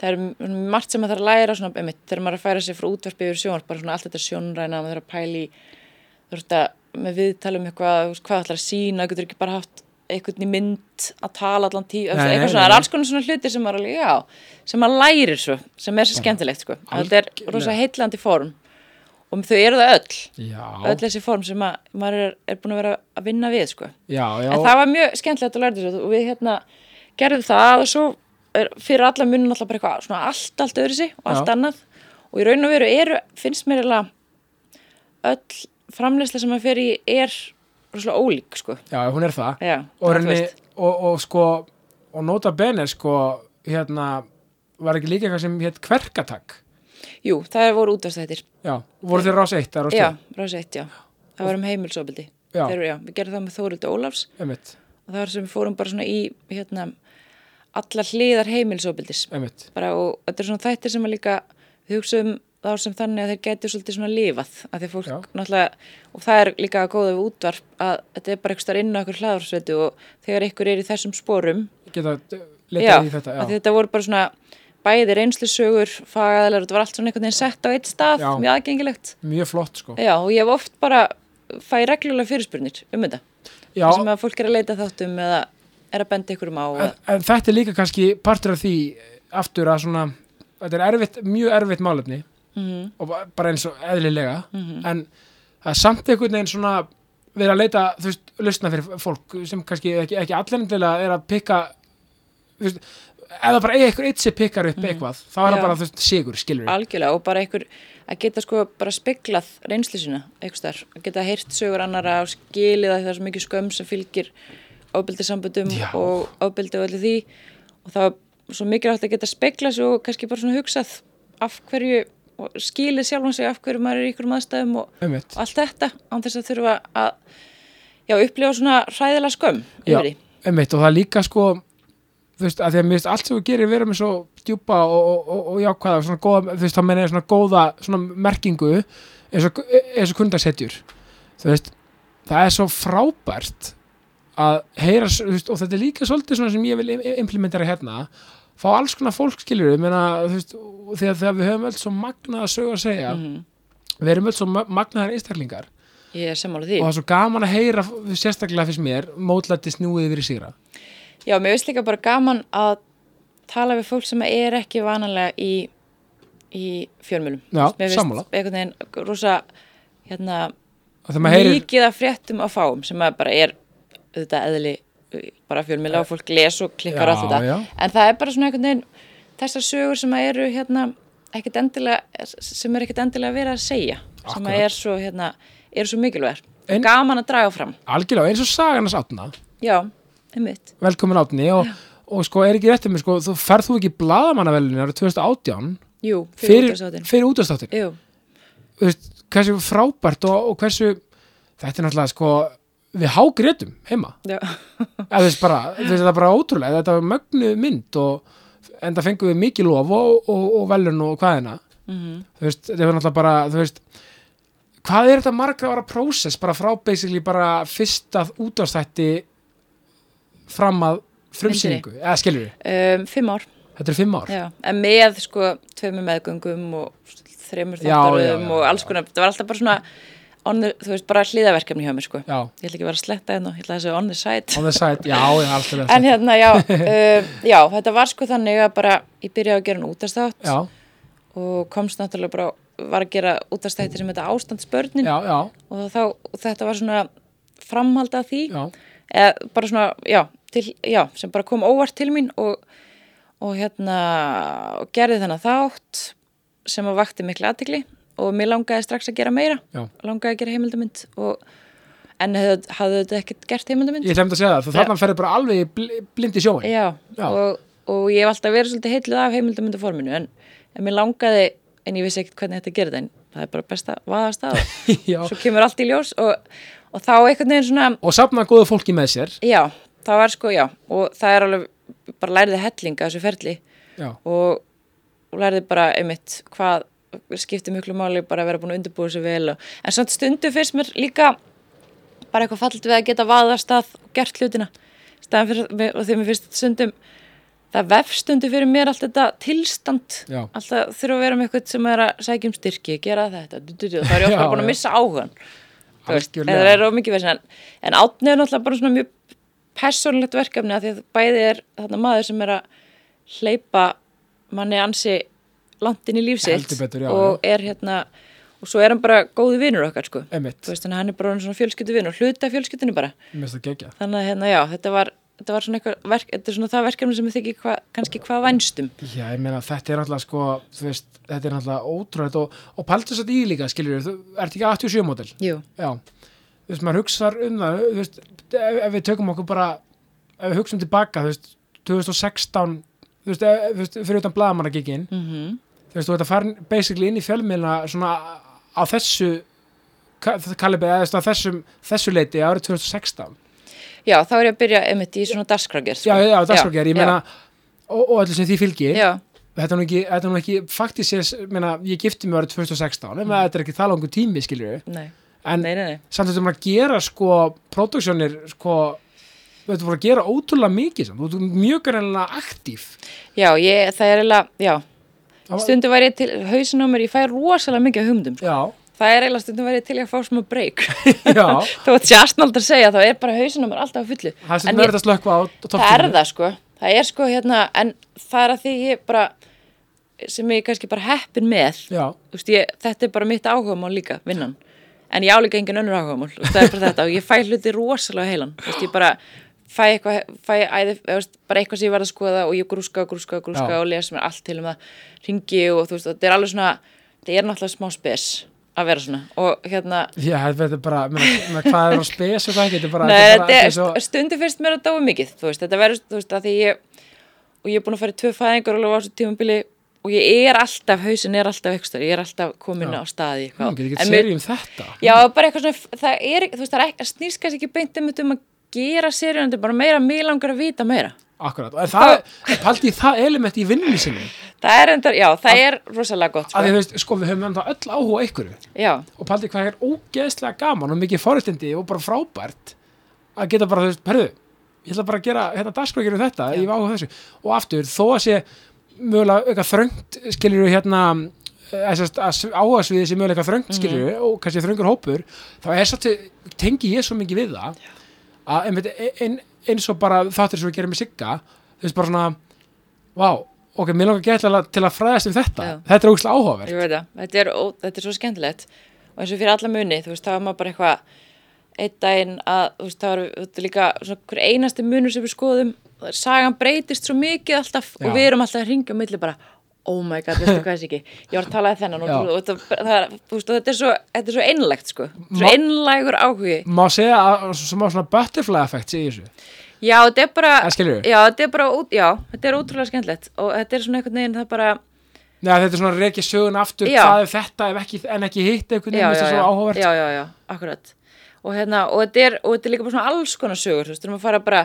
það er m- margt sem maður þarf að læra svona, einmitt, þegar maður er að færa sig frá útvarpi yfir sjónar bara svona allt þetta sjónræna, maður þarf að pæli þú veist að með viðtalum eitthvað, þú veist, hvað ætlar að sína, þú getur ekki bara haft einhvern í mynd að tala allan tí
Nei,
eitthvað
nei,
svona, það
nei.
er alls konar svona hluti sem maður alveg, já, sem maður lærir svo sem er svo skemmtilegt, sko, Að þetta er
Algjörlega.
rosa heitlandi form og þau eru það öll
já,
öll þessi form sem að, maður er, er búin að vera að vinna við sko.
já, já,
en það var mjög skemmtilegt að læra þessu og við hérna gerðum það og svo er, fyrir alla munum alltaf bara eitthvað svona allt, allt öðru sig og
Já.
allt annað og í raun og veru eru, finnst mér eiginlega öll framleysla sem að fer í er rosalega ólík sko.
já, hún er það
Já,
og,
það þú
reyni,
veist.
og, og sko og nota bene sko hérna, var ekki líka eitthvað sem hétt kverkatak
Jú, það voru útastættir
já, voru þér rás eitt, það er rás
Já, rása eitt, já Það var um heimilsobildi
Já.
Þeir, já, Við gerðum það með Þórildi Ólafs
einmitt,
og það var sem við fórum bara svona í hérna, allar hliðar heimilsopildis
einmitt,
bara, og þetta er svona þættir sem að líka við hugsaum þá sem þannig að þeir gæti svolítið svona lifað að þeir fólk
Já.
náttúrulega og það er líka að góða við útvarp að þetta er bara eitthvað inn á okkur hlaðarsveitu og þegar ykkur er í þessum sporum
geta letað í þetta
að þetta voru bara svona bæði reynslusögur, fagaðalar þetta var allt svona einhvern veginn sett á eitt stað
Já.
mjög aðgengilegt
mjög flott sko
Já, og ég hef oft bara fæ reglulega fyrirspurnir um þetta
já,
þar sem að fólk er að leita að þáttum eða er að benda ykkur um á
en, en þetta er líka kannski partur af því eh, aftur að svona þetta er erfitt, mjög erfitt málefni
Mhm.
og ba- bara eins og eðlilega en það er samt einhvern veginn svona verið að leita, þú veist, lausna fyrir fólk sem kannski ekki, ekki allendilega er að pikka þú veist, eða bara eiga eitthvað eitt sem pikkar upp eitthvað þá er það
Mhm. Já.
bara, þú veist, sigur, skilur
algjörlega og bara einhver að geta sko bara speglað reynslu sína einhvers þar, að geta heyrt sögur annara og skilið að það er svo mikið skömm sem fylgir ábyldisamböndum
Já.
og ábyldi og öllu því og það er svo mikilvægt að geta speglað svo og kannski bara svona hugsað af hverju og skilið sjálfan sig af hverju maður er í ykkur aðstæðum og
um eitt
allt þetta án þess að þurfa að já, upplifa svona hræðilega skömm
Já,
yfir því.
einmitt, og það er líka sko þú veist, að því að mér finnst allt sem þú gerir vera með svo djúpa og, og, og, og jákvæða og svona góða, þú veist, þá meina ég svona góða svona merkingu eins og, eins og kundasetjur þú veist, það er svo frábært að heyra, s- þú veist, og þetta er líka svolítið svona sem ég vil im- im- implementera hérna fá alls konar fólk skilur við, meina, þú veist, og þegar, þegar við höfum öll svo magnað að sögu að segja
Mhm.
við erum öll svo ma- magnaðar einstaklingar
ég er sammála því
og það er svo gaman að heyra sérstaklega fyrst mér, mótlætti snúið yfir í sigra
Já, mér finnst líka bara gaman að tala við fólk sem er ekki vanalega í, í fjölmjölum.
Já,
mér
sammála.
Mér finnst einhvern veginn rosa hérna,
að það maður heyrir
mikið af fréttum að fáum sem að bara er auðvitað eðli uh, bara fjölmjöla og fólk les og klikkar
Já,
á þetta.
já.
En það er bara svona einhvern veginn þessar sögur sem að eru hérna ekkert endilega sem er ekkert endilega verið að segja sem
Akkurat.
að er svo, hérna, er svo mikilvægur
En-
gaman að draga fram
algjörlega eins og sagan að sátna
já, einmitt
velkomin átni og, og sko er ekki réttið mér sko, þú ferð þú ekki blaðamannavelin árið 2018
jú,
fyrir,
fyrir, fyrir,
fyrir útastáttin
jú,
þú veist, hversu frábært og, og hversu þetta er náttúrulega sko við hágrétum heima
já,
eða þú veist bara, þú veist þetta er bara ótrúlega þetta var mögnu mynd og en það fengum við mikið lof og, og, og velun og hvaðina
Mhm.
þú veist, þetta var náttúrulega bara, þú veist hvað er þetta margra ára prósess bara frá basically bara fyrsta útastætti fram að frumsýningu, eða skilur við
um, fimm ár
Þetta eru fimm ár.
já. en með sko tveimur meðgöngum og þreimur
Já, já,
þáttaröðum
já,
og
já.
alls konar, það var alltaf bara svona on the, þú veist, bara hliðaverkefni hjá mér sko
Já,
ég ætla ekki að vera að sletta hérna, ég ætla að þessu on the side
on the side, já, já, alltaf vel
en
sagt.
hérna, já, um, já, þetta var sko þannig að bara, ég byrjaði að gera hann útastátt
Já,
og komst náttúrulega bara, var að gera útastætti sem þetta ástandsbörnin
já, já,
og þá, og þetta var svona framhald af því,
já,
eða bara svona, já, til, já, sem bara kom óvart til mín og, og hérna, og gerði þennan þátt sem að vakti miklu aðtikli og mér langaði strax að gera meira,
já.
langaði að gera heimildamynd og, en hefðu, hafðu þetta ekkert gert heimildamynd?
Ég hlemd að segja það, þú þarna ferði bara alveg í bl- blindi sjóin.
Já,
Já.
Og, og ég hef alltaf verið svolítið heitluð af heimildamundaforminu en, en mér langaði, en ég vissi ekkert hvernig þetta gerði en það er bara best að vaðast að og
Já.
svo kemur allt í ljós og, og þá einhvern veginn svona,
Og safna góðu fólki með sér.
já, það var sko, já og það er alveg, bara læriði hellinga þessu ferli
Já,
og, og læriði bara einmitt hvað skipti miklu máli bara að vera búin að undirbúa þessu vel og, en samt stundu finnst mér líka bara eitthvað fallit við að geta vaðast að og gert hlutina staðan fyrir, og þegar mér finnst stundum það vefstundu fyrir mér allt þetta tilstand
Já.
alltaf þurfa að vera með eitthvað sem er að sækja um styrki, gera þetta du, du, du, þá er ég
Já,
ofta búin
já.
að missa áhugan Þú veist,
Algjörlega.
eða það er of mikið verið en, en átni er náttúrulega bara svona mjög persónlegt verkefni að því að bæði er þarna maður sem er að hleypa manni ansi langt inn í lífsitt
Heldur betur, já, Eh.
og er hérna og svo er hann bara góði vinur okkar sko
emitt,
Þú veist, þannig að hann er bara orðinn svona fjölskyldu vinur hluti af fjölskyldunni bara
mér finnst það gegja.
þannig að hérna já, þetta var, þetta var svona, eitthvað verk, þetta er svona það verkefni sem ég þykir hva, kannski hvað vænstum
Já, ég meina, þetta er náttúrulega sko, þú veist, þetta er náttúrulega ótrúlega og, og pæltu satt í líka, skilur við, þú ert ekki 87 mótil.
Jú,
Já, þú veist, maður hugsar um það, þú veist, ef, ef við tökum okkur bara, ef við hugsum tilbaka, þú veist, 2016, þú veist, ef, þú veist fyrir utan blaðamannagikinn,
mm -hmm.
þú veist, þú ert að fara basically inn í fjölmiðla svona á þessu kalibið, eða þú veist, á þessum, þessu leiti árið 2016.
já þá er ég að byrja einmitt í svona dagskrágerð
Já,
sko.
já, dagskrákjær, ég
já,
meina, og, og öllu sem því fylgir,
já,
þetta er nú ekki, þetta er nú ekki, faktist ég, meina, ég gifti mig árið 2016, mm. þetta er ekki það langur tími, skilur við,
nei,
en
nei, nei, nei.
samt þetta er maður að gera, sko, produksjónir, sko, þú veist, þú voru að gera ótrúlega mikið, samt, þú ert mjög greinlega aktíf.
já, ég, það er eiginlega, já
Það var-
stundu væri ég til, hausin á mér, ég fæ rosalega mikið af hugmyndum, sko.
Já,
það er eiginlega stundum væri ég til í að fá smá break,
já,
þó að Sjastnald að segja, þá er bara hausin á mér alltaf að fullu
það er
En
sem verður
ég-
að slökka á toppinu.
það er það sko, það er sko hérna en það er að því ég bara sem ég er kannski bara heppin með
Já,
Þú veist, ég, þetta er bara mitt áhugamál líka, vinnan en ég álíka engin önnur áhugamál Þú veist, það er bara þetta og ég fæ hluti rosalega heilan Þú veist, ég bara fæ eitthvað fæ æði, eða, þú veist, bara eitthvað sem ég var að skoða og ég grúska, grúska, grúska
Já.
og lesa mér allt til um það ringi og þú veist, þetta er alveg svona þetta er náttúrulega smá spes að vera svona og hérna
já, þetta er bara, meina, meina, hvað er á spes og það ekki, þetta er bara,
Nei,
bara-
þetta er,
svo-
stundu fyrst mér að dáa mikið þú veist, þetta verður, þú veist, að því ég og ég er búin að fara í tvö fæðingar alveg á þessu tímabili og ég er alltaf, hausin er alltaf ekstra, ég er alltaf komin
Já.
á staði
Nú, getur ekki
En
að
mér-
segja um þetta
Já, bara eitthvað svona, það er, þú veist, það er ekki, snýst kannski ekki beint um þetta um að gera seríun, þetta er bara meira, mér langar að vita meira
Akkurat, og en það, en paldi í það element í vinnunni sinni
Það er endar, já, það er rosalega gott,
að því
sko
þú veist, sko við höfum enda öll áhuga á einhverju
Já,
og paldi hvað er ógeðslega gaman og mikið forutindi og bara frábært að geta bara, þú veist, herðu ég ætla bara að gera, hérna, dagskrákir um þetta ég var áhuga á þessu, og aftur, þó að sé mögulega eitthvað þröngt, skilur við hérna áhugasviði sem mögulega eitthvað þröngt, skilur við og kannski þröngur hópur, þá er satt tengi ég svo mikið við það að einmitt, e, ein, eins og bara þáttur sem við gerum með Sigga þú veist bara svona, vá ok, mér langar gætla til að fræðast um þetta
Já.
þetta er ógeðslega áhugavert
ég veit það, þetta er, ó, þetta er svo skemmtilegt og eins og fyrir alla muni, þú veist, þá er maður bara eitthvað einn daginn að, þú veist, þá er þetta er líka svona hver einasti munur sem við skoðum, sagan breytist svo mikið alltaf
Já.
og við erum alltaf að ringja á milli bara, oh my god, veistu hvað þessi ekki ég var að tala við þennan og,
Já.
og, og, það, er- þú veist, og þetta er svo, þetta er svo einlægt sko. Þetta er svo
Ma-
einlægur áhugi
Má segja að sem á svona butterfly effect sé í þessu
já, þetta er bara,
Það Ah, skilurðu?
já, þetta er bara út, já, þetta er ótrúlega skemmtilegt og þetta er svona einhvern veginn það bara
Nei, þetta er svona reikið sögun aftur
Já.
hvað er þetta ef ekki, en ekki hitt einhvern veginn,
já, já,
þetta er
já,
svo áhugavert
já, já, já, akkurat og, hérna, og, þetta er, og þetta er líka bara svona alls konar sögur þú veist, við erum að fara bara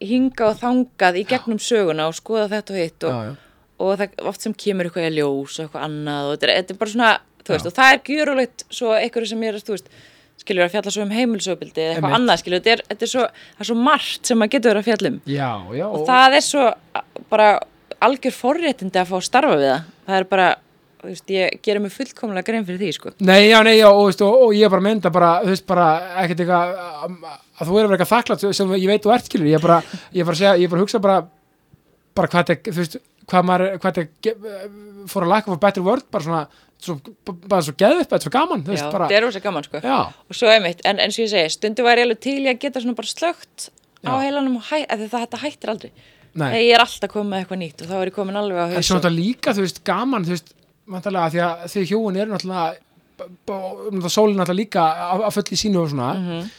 hinga og þangað í gegnum söguna og skoða þetta og hitt og,
Já, já.
og það oft sem kemur eitthvað í ljós og eitthvað annað og þetta er, þetta er bara svona, þú veist, og það er gjörulegt svo eitthvað sem ég er, þú veist skilur að fjalla svo um heimilsöfbildi eða eitthvað
Einmitt.
annað skilur, þetta er, þetta er svo, það er svo margt sem maður getur verið að fjalla um
Já, já,
og það er svo a- bara algjör forréttindi að fá að starfa við það það er bara, þú veist, ég gerir mig fullkomlega grein fyrir því, sko
Nei, já, nei, já, og, veist, og, og ég er bara að mynda bara, þú veist, bara, ekkert eitthvað um, að þú er að vera eitthvað þakklátt sem ég veit þú ert skilur, ég er bara, ég er bara að segja, ég er bara að hugsa bara, bara hvað þetta, þú veist hvað maður, hvað þetta ge- for a lack of a better word, bara svona svo, bara svo geðvitt, bara svo gaman, þú
Já,
veist,
þetta
bara
er rosa gaman, sko
Já,
og svo einmitt, en eins og ég segi, stundu var ég alveg til í að geta svona bara slögt á
Já.
heilanum og hæ, að þetta, þetta hættir aldrei
nei,
þegar ég er alltaf komið með eitthvað nýtt og þá er ég komin alveg á
en svo
hausinn.
þetta líka, þú veist, gaman, þú veist vantarlega, því að þau hjóin eru náttúrulega b- b- og náttúrulega sólin náttúrulega líka að að fullu í sínu og svona
Mhm.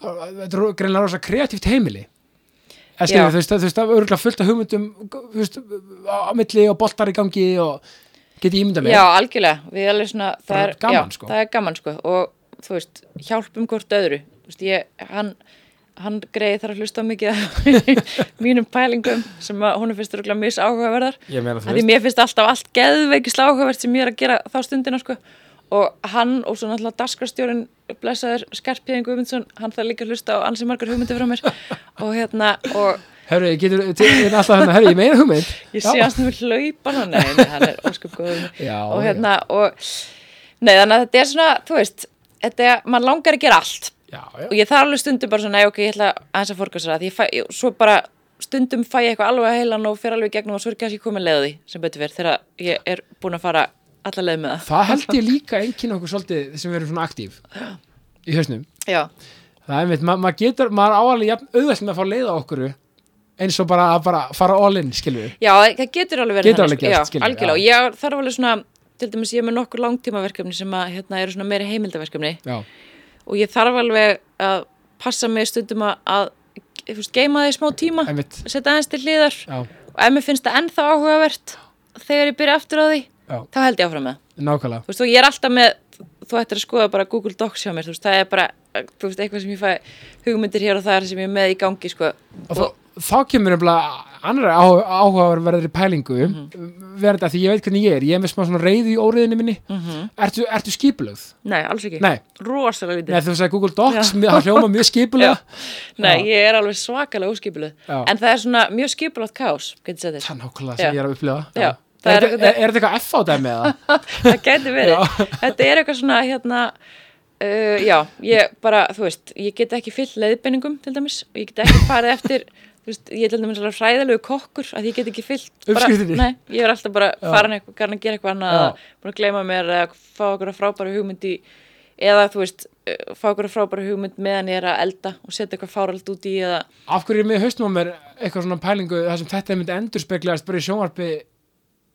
þetta er ro- greinlega rosa kreatíft heimili eða
Já.
skilur þú veist, þú veist, það er örgulega fullt af hugmyndum þú veist, á á milli og boltar í gangi og geti ímynda mig
Já, algjörlega, við erum svona, það
Bara
er,
gaman,
já,
sko.
það er gaman sko og þú veist, hjálpum hvort öðru, þú veist, ég, hann, hann greiði þar að hlusta á mikið af mínum pælingum sem að honum finnst rúglega mis áhugaverðar,
Ég meina, þú
að því
veist.
mér finnst alltaf allt geðveikislega áhugavert sem ég er að gera þá stundina sko og hann og svo náttúrulega daskarstjórin blessaður skarpiðin Guðmundsson, hann þarf líka að hlusta á ansi margar hugmyndir frá mér og hérna, og
herru, ég getur, til- ég er alltaf hérna herru, ég meina hugmynd
Ég sé hans með hlaupa hann, nei, nei, hann er ósköp góður.
Já,
og hérna, og, nei, þannig að þetta er svona, þú veist, þetta er, maður langar að gera allt
já,
og ég þarf alveg stundum bara svona, nei, ok, ég ætla aðeins að fórkvæsra því ég fæ, ég, svo bara stundum fæ ég eitthvað alveg að heilan og fer alveg í gegnum og svo er kannski komin leið á því sem betur verð þegar ég er búin að fara alla leið með það.
það held ég líka enginn okkur svolítið sem verður svona aktíf í hausnum
Já,
það er mitt, ma maður getur, maður er áalið jafn auðvægt með að fá leiða okkur eins og bara að bara fara all in, skilur við
já, það getur alveg verið
Getur alveg
þannig,
gerst,
já,
skilur,
algjörlega,
já.
já. ég þarf alveg svona, til dæmis ég er með nokkur langtímaverkefni sem að, hérna, eru svona meira heimildaverkefni
já,
og ég þarf alveg að passa mig stundum að, að þú veist, geima það í smá tíma
einmitt
setja aðeins til hliðar
já,
og ef mér finnst það ennþá áhugavert þegar ég byrja aftur á því
já,
þá held ég áfram með það.
nákvæmlega
þú veist, og ég er alltaf með þú ættir að skoða bara Google Docs hjá mér þú veist, það er bara, þú veist, eitthvað sem ég fæ hugmyndir hér og það er sem ég er með í gangi sko.
og þá, þá kemur nefnilega annara áhugaverðari pælingu mm
Mhm.
verða því ég veit hvernig ég er ég er með smá svona reyði í óriðinu minni ertu, ertu skipulögð?
mhm. nei, alls ekki,
Nei,
rosalega lítið
Nei þú sagði Google Docs, mér- það hljóma mjög skipulega
nei, ég er alveg svakalega óskipiluð
Já.
en það er svona mjög skipilagt kás getur sagt
það
þér,
er nákvæmlega sem
Já.
ég er að upplifa
Já,
Já.
það
Er,
er
er, er, er þetta eitthvað F á dæmi eða?
það getur verið
Já.
þetta er eitthvað svona hérna uh, já, ég bara, þú veist ég get ekki fyllt leiðbeiningum til dæmis og ég get ekki farið eftir þú veist, ég er til dæmis alveg fræðilegu kokkur að ég get ekki fyllt bara,
Uppskriftinni.
nei, ég er alltaf bara farin eitthvað, garan að gera eitthvað
Já.
annað eða búin að gleyma mér eða fá okkur frábæra hugmynd í eða þú veist, uh, fá okkur frábæra hugmynd meðan ég er að elda og setja eitthvað fáralt út í eða
Af hverju er mér haustnum á mér eitthvað svona pælingu þar sem þetta myndi endurspeglast bara í sjónvarpi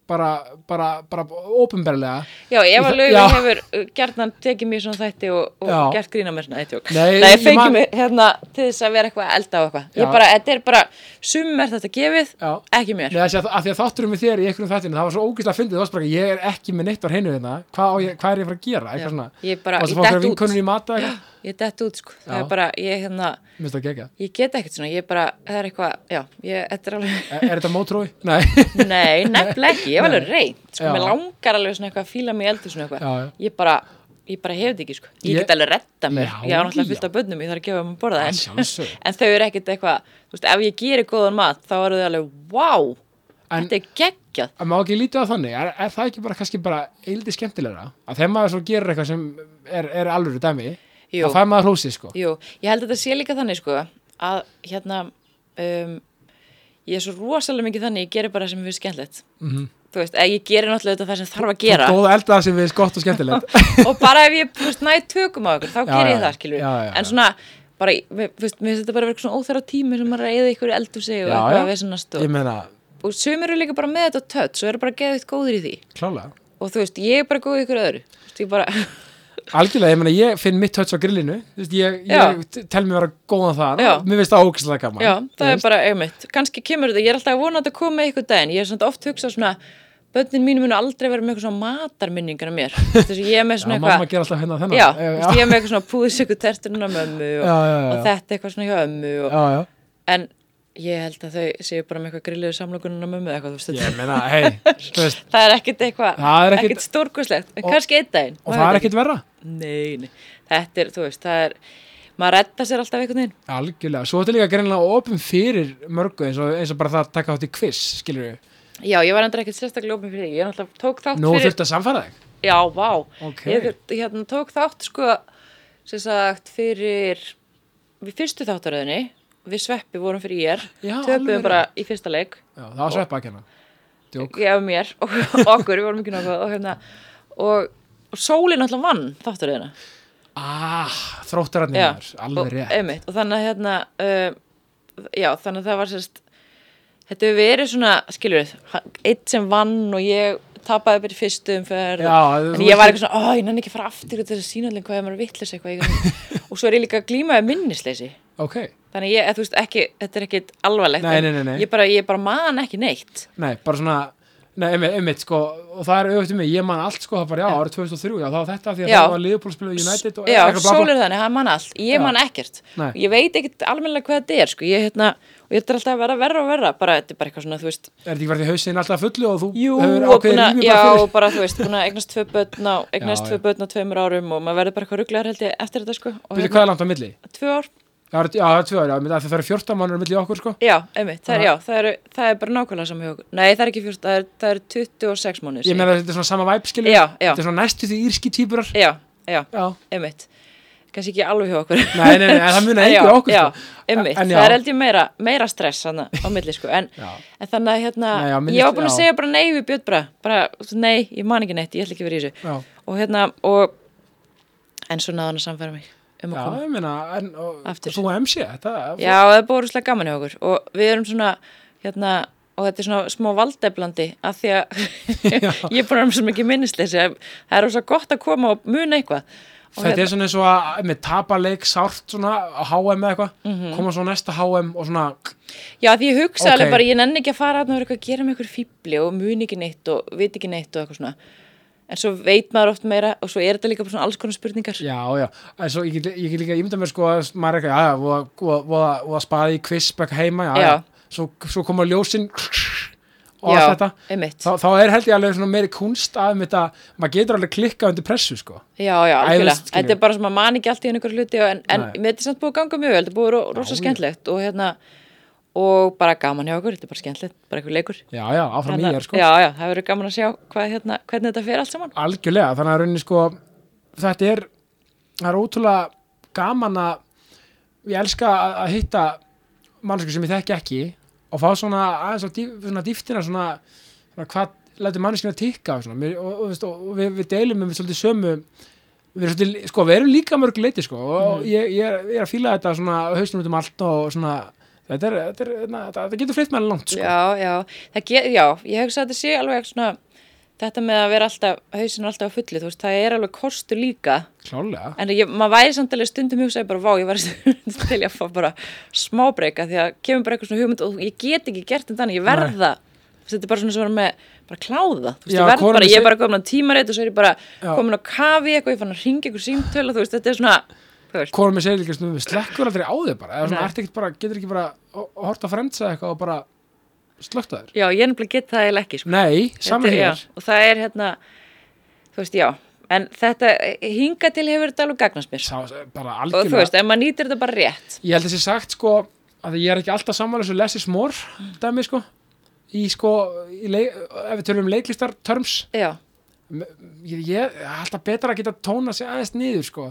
bara, bara, bara ópenbarlega
Já, Eva
Í það-
Laufey
já.
hefur uh, gjarnan tekið mér svona þætti og, og
Já.
gert grína mér svona eitthjók.
Nei,
Nei
ég
fengið
man-
mér hérna til þess að vera eitthvað að elda á eitthvað.
Já.
Ég bara, þetta er bara, sum er þetta gefið,
Já.
ekki mér.
Nei, þessi að, að því að þátturum með þér í einhverjum þættinu það var svo ógæslega fyndið, það var svo bara ég er ekki með neitt á hreinu hérna, hvað, á ég, hvað er ég að fara að gera
Já.
eitthvað svona,
Ég bara-
varstu að fá
ég dett
okkur
út.
vinkonur í mata eitthvað?
Ég dett út, sko. Það
Já.
er bara, ég hérna,
Mér finnst það gegja.
ég get ekkert svona, ég bara, það er eitthvað, já, ég, þetta er alveg,
Er, er þetta mótrói? Nei.
nei, nefnilega ekki, ég var alveg reynd, sko,
Já.
mér langar alveg svona eitthvað að fíla mig í eldur svona eitthvað.
Já, já.
Ég bara, ég bara hef þetta ekki, sko. Ég,
Ég-
get alveg retta mér.
Já,
ég á náttúrulega
já.
fullt af bönnum, ég þarf að gefa þeim að borða
Að
en-
sjálfsögðu.
en þau eru ekkert eitthvað, þú veist, ef ég gerir góðan mat þá eru þau alveg, wow,
En-
þetta er geggjað
Að má ekki lítið á þannig, er, er það ekki bara kannski bara eildi skemmtilegra? Að þegar maður svo gerir eitthvað sem er, er alvöru dæmi,
Jú.
þá fær maður hrósið sko.
Jú, ég held að þetta sé líka þannig sko að hérna um, ég er svo rosalega mikið þannig ég gerir bara það sem við skemmtilegt mm
Mhm.
-hmm. þú veist, eða ég gerir náttúrulega auðvitað það sem þarf að gera
Góða eldað sem við gott og skemmtilegt.
og bara ef ég, þú veist, næ tökum á ykkur þá
Já,
ger ég
já,
það, skilur
já, já,
en
já.
svona, bara, mér, þú veist, mér finnst þetta bara verið svona óþæra tími sem maður er að eða ykkur eldur sig og
Já,
eitthvað
já.
vesenast og
ég meina,
og sumir eru líka bara með þetta tött svo eru bara geðvitt góðir í því
klálega
og þú veist, ég er bara góð í ykkur öðru Þú veist, ég bara,
algjörlega, ég meina, ég finn mitt höts á grillinu þú veist, ég,
Já.
ég t- tel mig vera góðan þar
Já.
mér finnst það ógæslega gaman
já,
þú
það er
veist.
bara einmitt kannski kemur þetta, ég er alltaf að vona að þetta komi eitthvað daginn, ég er svona oft hugsað svona börnin mínu munu aldrei vera með eitthvað svona matarminningar af mér, þess að ég er með
já,
svona
mamma
eitthvað
ger alltaf hérna og þennan
Já,
já,
þú veist, ég er með eitthvað svona púðsöku tertunum af mömmu og,
Já, já, já,
og
já.
þetta eitthvað svona hjá ömmu og,
já, já.
en ég held að þau séu bara með eitthvað grilliðu samlokunum af mömmu eða eitthvað, þú veist, þetta-
ég meina, hei, þú veist
það er ekkit eitthvað,
Það er ekkit-
ekkit stórkoslegt, en
Og-
kannski einn daginn
og
maður
það
veit
er ekkit verra
Nei, nei, þetta er, þú veist, það er maður redda sér alltaf einhvern veginn
algjörlega, svo þetta líka greinlega opum fyrir mörgu eins og, eins og bara það að taka þátt í quiz skilur við,
Já, ég var endur ekkert sérstaklega opið fyrir því ég náttúrulega tók þátt
nú
fyrir
þurftu að samfæra þig
Já, vá,
Ok.
ég þur- hérna, tók þátt sko, sem sagt, fyrir við fyrstu þáttaröðinni við sveppi vorum fyrir ég
Já, alveg
töpuðum bara í fyrsta leik
já, það var sveppa að kenna Djók.
ég og mér og okkur, við vorum ekki nokkuð og hérna, og, og sólin alltaf vann þáttaröðina
ah, þróttararnir
Já,
maður, alveg
og,
rétt
einmitt, og þannig að hérna uh, já, þannig að það var sérst þetta hefur verið svona, skilur við eitt sem vann og ég tapaði bara í fyrstu umferð
Já, þú
en ég var
veist-
eitthvað svona, ó, ég nenni ekki að fara aftur til þess að sína allir hvað ef maður vittlis eitthvað ég, og svo er ég líka að glíma við minnisleysi
ok,
þannig að ég, eða þú veist, ekki, þetta er ekkit alvarlegt
Nei,
en
nei, nei, nei.
Ég, bara, ég bara man ekki neitt
nei, bara svona nei, einmitt, einmitt, sko, og það er auðvitað mig ég man allt, sko, það bara, já, árið 2003 já, það var þetta, því að
Já.
það var Liverpool spilaði United og
já,
eitthvað bla, bla.
sólur þannig, hann man allt ég
Já.
man ekkert,
Nei.
ég veit ekkert almennilega hvað þetta er, sko, ég hérna og þetta er alltaf að vera verra og verra, bara þetta er bara eitthvað svona, þú veist,
er þetta ekki verið hausinn alltaf fullu og þú
Jú,
hefur
og
ákveðið
búin að,
rými
já,
bara fyrir
bara þú veist, búin að eignast tvö börn á, eignast
Já,
tvö
já.
börn á tveimur árum og maður verður bara eitthvað rugglegar held ég eftir þetta sko og
Byrju, hvað er langt á milli?
tvö ár,
Já, það er- já, það er tvö ára, það það eru 14 mannur á milli okkur, sko
já, einmitt, það er,
Aha.
já, það er, það er bara nákvæmlega saman hjá okkur, nei það er ekki fjórst, það er, það er 26 mánuðir
Ég
síðan.
meina, þetta er svona sama væp, skilur
Já, já.
Þetta er svona næstu því írski týpurar
Já, já,
Já,
einmitt, kannski ekki alveg hjá okkur
nei, nei, nei, en það muna
En
einhver okkur,
já,
sko
já, einmitt,
En já.
það er held ég meira, meira stress hana, á milli sko, en,
Já.
en þannig að hérna,
Nei, já, mér
ég
líst-
var búin að
já.
segja bara nei við Björn bara, bara nei, ég man ekki neitt, ég ætla ekki að vera í þessu
Já,
og hérna, og en svo náðan að samfæra mig um að
já,
koma
ég meina, en og,
Aftur.
þú og MC, þetta
Já, það er bóruslega gaman hjá okkur og við erum svona, hérna og þetta er svona smá valdeflandi af því að ég er búin að vera sem ekki minnisleysi að það er svo gott að koma og muna eitthvað og hérna,
Þetta er svona eins og að með tapaleik sárt svona á HM eða eitthvað
Mhm.
koma svo á næsta HM og svona
já, því ég hugsa
Ok.
alveg bara, ég nenni ekki að fara að vera eitthvað að gera með eitthvað fíbli og muni ekki neitt og viti ekki neitt og eitthvað svona en svo veit maður oft meira og svo er þetta líka bara svona alls konar spurningar
Já, já, en svo ég get, ég get líka ímynda mér sko að maður er eitthvað, já, já, voða, voða, voða, voða spaði í kvisbæk heima, já,
Já.
Svo, svo koma ljósin og
Já,
allt þetta
einmitt.
þá, þá er held ég alveg svona meiri kunst að um þetta, maður getur alveg klikkað undir pressu sko
Já, já,
Æ,
algjörlega.
veist, skilur.
Þetta er bara sem að man ekki allt í einhver hluti og en, en
Nei.
mér þetta er samt búið að ganga mjög vel, þetta er búið ro- rosa
já.
skemmtlegt og hérna, og bara gaman hjá okkur, þetta er bara skemmtlegt, bara einhver leikur.
Já, já, áfram
Þannig
í
að-
er sko
Já, já, það verður gaman að sjá hvað, hérna, hvernig þetta fer allt saman.
Algjörlega, þannig að rauninni sko þetta er, það er ótrúlega gaman að ég elska að, að hitta mannsku sem ég þekki ekki og fá svona aðeins á dýf, svona dýftina svona, svona hvað lætur mannskina tikka og, svona. Mér- og, og, veist, og, og við, við deilum um svolítið sömu við erum, svolítið, sko, við erum líka mörg leiti sko, og ég, ég, er, ég er að fíla þetta svona hausnum út um allt og svona þetta, er, þetta, er, þetta, þetta getur flytt með langt sko.
Já, já, það get, já, ég hugsa að þetta sé alveg svona, þetta með að vera alltaf, hausinu alltaf á fullu, þú veist, það er alveg kostur líka,
klálega
en ég, maður væri samt alveg stundum hugsaði bara, vá, ég var stundum til ég að fá bara smábreyka því að kemur bara eitthvað svona hugmynd og ég get ekki gert þetta þannig, ég
Nei.
verða þetta er bara svona sem var með, bara kláða þú veist,
Já,
ég verð
hvorum
bara, ég
sé-
er bara komin á tímarit og svo er ég bara
Já.
komin á kafi eitthvað, ég fann að ringa eitthvað símtölu þú veist, þetta er svona, þú veist
Hvorum ég segir líka svona, við slekkur aldrei á þig bara, eða svona,
Nei.
ertu ekkert bara, getur ekki bara að horta fremdsa eitthvað og bara slökta þér?
já, ég nefnilega get það eiginlega ekki, sko
Nei, saman
Þetta er-
Mm, hér.
já, og það er hérna, þú veist, já en þetta, hinga til hefur þetta alveg gagnast mér
Sá, bara
og þú veist,
algjörlega.
ef maður nýtir þetta bara rétt
Ég held að þessi sagt, sko, að ég er ekki alltaf samanlega svo lesið smór, dæmi, sko, í, sko, í leik, ef við tölum um leiklistar terms,
já,
ég, ég er alltaf betra að geta tóna sig aðeins niður, sko,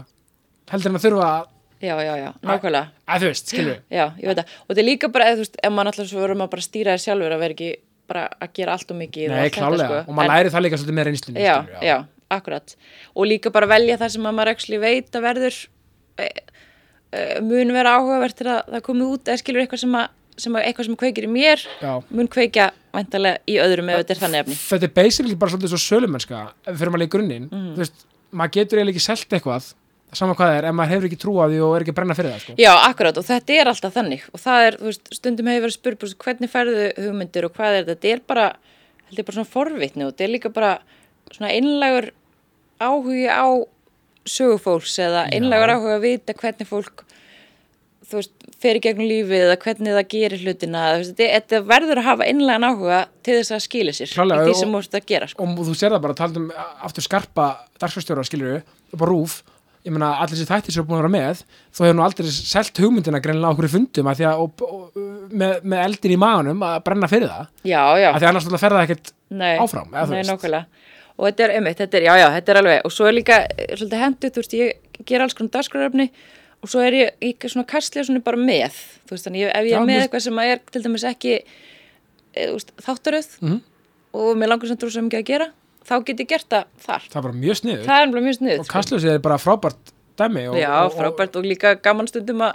heldur en að þurfa að,
já, já, já, nákvæmlega
að þú veist, skilur við.
Já, ég veit það. Og þetta er líka bara, eða, þú veist, ef maður alltaf svo verður maður bara að stýra þér sjálfur að vera ekki bara að gera allt og mikið. og
Nei,
allt þetta,
klálega,
sko.
og maður
En-
læri það líka svolítið með reynslunni,
Já,
skilurðu,
já, akkurat. Og líka bara velja það sem að maður actually veit að verður, e, e, mun vera áhugavert til að það komi út eða skilur eitthvað sem að sem að eitthvað sem kveikir í mér
Já.
mun kveikja væntalega í öðrum ef þetta er þannig efni
þetta er basically bara svolítið svo sölumennska ef við fyrir maður í grunninn
Mm.
þú veist, maður getur eiginlega ekki selt eitthvað saman hvað það er, ef maður hefur ekki trú á því og er ekki að brenna fyrir það sko.
Já, akkurát og þetta er alltaf þannig og það er, þú veist, stundum hefur verið spurt bara, hvernig færðu hugmyndir og hvað er þetta þetta er bara, held ég bara svona forvitni og þetta er líka bara svona einlægur áhugi á sögufólks eða einlægur áhugi að vita hvernig fólk þú veist, fer í gegnum lífið eða hvernig það gerir hlutina eða, þú veist, þetta- þetta verður að hafa einlægan áhuga til þess að skila sér
Klárlega,
í því
og-
sem múst að gera sko.
og þú sér það bara, talað um aftur skarpa dagskvæmstjóra, skilur við, bara rúf ég meina, allir þessi þættir sem er búin að vera með þó hefur nú aldrei selt hugmyndina greinlega á okkur fundum að því að, og, og, með, með eldin í maganum að brenna fyrir það
Já, já
að því annars náttúrulega fer það ekkert
nei,
áfram, eða þú
nei,
veist.
nákvæmlega og þetta er einmitt, þetta er, já, já, þetta er alveg og svo er líka eh, svolítið hendur, þú veist, ég ger alls konar dagskráröfni og svo er ég, ég svona kastlega svona bara með, þú veist, þannig ég- ef ég
Já,
er með
mér-
eitthvað sem að er til dæmis ekki e, úst, þáttaröð
Mhm.
og mér langar sem trú sem ekki að gera þá get ég gert það þar
það er bara mjög sniður
það er alveg mjög sniðið
og kastljósið er bara frábært dæmi og,
Já,
og, og,
frábært og líka gaman stundum að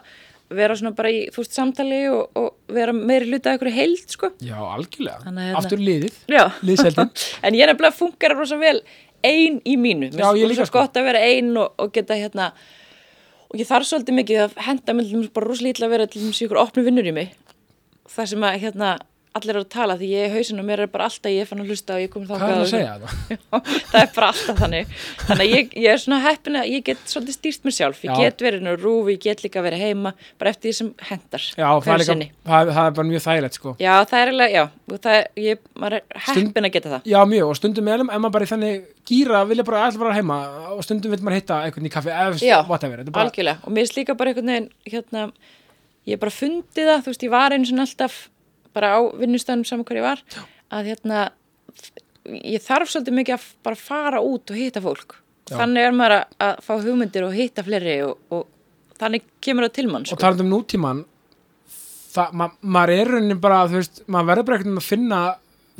vera svona bara í, þú veist, samtali og, og vera meiri hluta af ykkur heild, sko
já, algjörlega,
Þannig að hérna-
aftur liðið
Já.
liðseldin
en ég nefnilega funkar rosa vel ein í mínu,
Já, ég líka,
rosa
sko.
gott að vera ein og, og geta hérna og ég þarf svolítið mikið að henda mér til dæmis bara rosalega illa að vera til dæmis í ykkur opnu vinnur í mig þar sem að hérna allir eru að tala því ég er hausin og mér er bara alltaf ég er fann að hlusta og ég komið þá
hvað er að segja það?
það er bara alltaf þannig þannig að ég, ég er svona heppin að ég get svolítið stýrt mér sjálf, ég
Já.
get verið nú rúfi, ég get líka verið heima bara eftir því sem hendar
Já, það er,
hverju
líka,
sinni.
það, það er bara mjög þægilegt sko
já, það er alveg, já, og það er, ég, maður er
Stund-
heppin að geta það
Já, mjög, og stundum meðlum, ef maður bara í þannig gýra, vilja bara alltaf vera heima og stundum vil maður hitta einhvern í kaffi, eða
Já,
whatever, þetta er bara,
algjörlega og mér er slíka bara einhvern veginn hérna, ég er bara fundið það, þú veist, ég var einu svona alltaf bara á vinnustæðum saman hver ég var að hérna ég þarf svolítið mikið að f- bara fara út og hitta fólk,
Já.
þannig er maður að, að fá hugmyndir og hitta fleiri og, og þannig kemur það til mann
og
sko.
talað um nútíman það, ma maður er raunin bara, þú veist, maður verður bara einhvern veginn að finna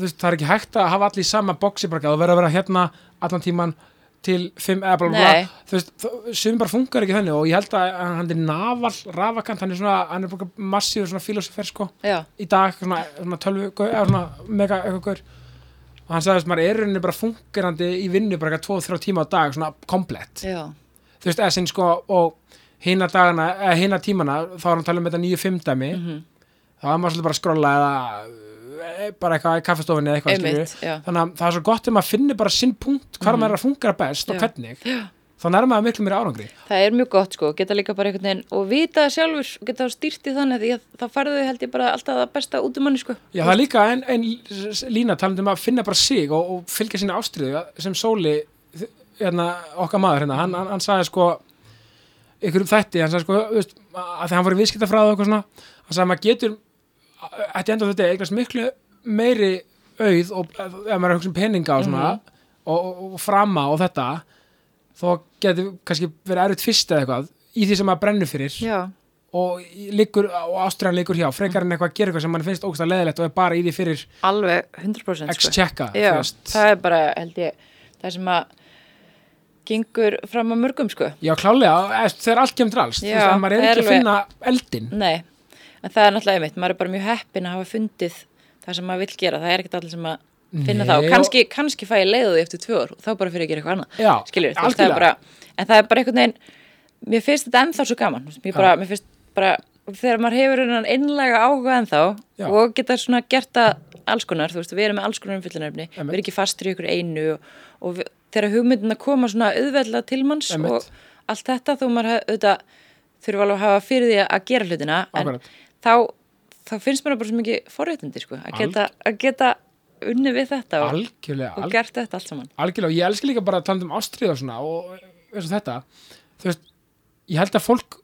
þú veist, það er ekki hægt að hafa allir í sama boxi bara, þú verður að vera hérna allan tíman til fimm, eða bla bla
Nei.
bla þú veist, þó- sum bara funkar ekki þannig og ég held að hann er naval, rafakant hann er svona, hann er bara massíður svona filosofer sko,
Já,
í dag, svona, svona tölvu gau- eða svona mega eitthvað gaur og hann sagði að maður er í rauninni bara fungerandi í vinnu bara eitthvað 2-3 tíma á dag svona komplett,
já,
þú veist, eða sinn sko og hina dagana, eða hina tímana þá er hann að tala um þetta 9-5 dæmi
Mhm.
þá er maður svolítið bara að skrolla eða e, bara eitthvað í kaffestofinni eða eitthvað
Einmitt,
skilurðu.
já. Mhm.
þannig að það er svo gott ef maður finnir bara sinn punkt hvar maður er að fungera best og
Já.
hvernig þannig er maður miklu meira árangri
það er mjög gott sko, geta líka bara einhvern veginn og vita það sjálfur, og geta þá stýrt í þannig því að það farðu held ég bara alltaf það besta út um manni sko.
Já, það er líka ein, ein lína talandi um að finna bara sig og, og fylgja sinni ástriðu sem Sóli, þ- hérna, okkar maður hérna, hann, hann, hann sagði sko ykkur um þætti, hann sagði sko þú veist, að því hann var í viðskiptafræði og eitthvað svona hann sagði að maður getur, þetta enda þetta eignast miklu meiri auð og ef maður er að hugsa um peninga og svona og, og, og frama og þetta þó getur kannski verið erfitt fyrst eða eitthvað í því sem maður brennur fyrir
Já,
og, í- liggur, og ástriðan liggur hjá frekar en eitthvað að gera eitthvað sem mann finnst ógst að leðilegt og er bara í því fyrir
alveg 100% sko.
X-checka
Já, það er bara, held ég, það sem að gengur fram að mörgum, sko.
Já, klálega, eða, þegar allt kemur til alls
Já,
Já, Þannig að maður er
það er
ekki að
alveg-
finna eldin
Nei, en það er náttúrulega einmitt, maður er bara mjög heppin að hafa fundið það sem maður vill gera, það er ekkert allir sem að finna
Nei,
það og
og-
kannski, kannski fæ ég leiðu því eftir tvö ár og þá bara fyrir að gera eitthvað annað,
Já,
skilur við, það er bara, en það er bara einhvern veginn, mér finnst þetta ennþá svo gaman, þú veist, mér, bara, mér finnst bara, þegar maður hefur hennan innlega áhuga ennþá
Já.
og geta svona gert það alls konar, þú veist, við erum með alls konar umfyllunaröfni, við
Einmitt.
erum ekki fastur í ykkur einu og, og við, þegar hugmyndina koma svona auðveldlega til manns
Einmitt.
og allt þetta þó maður hef- auðvitað þurfa alveg að hafa fyrir því að gera hlutina en
Akkurat.
þá, þá finnst mér það bara svo mikið forréttindi sko, að geta, að geta unni við þetta og,
Algjörlega,
og
algjörlega,
gert þetta allt saman
algjörlega og ég elska líka bara að tala um ástrið og svona og eins og þetta þú veist, ég held að fólk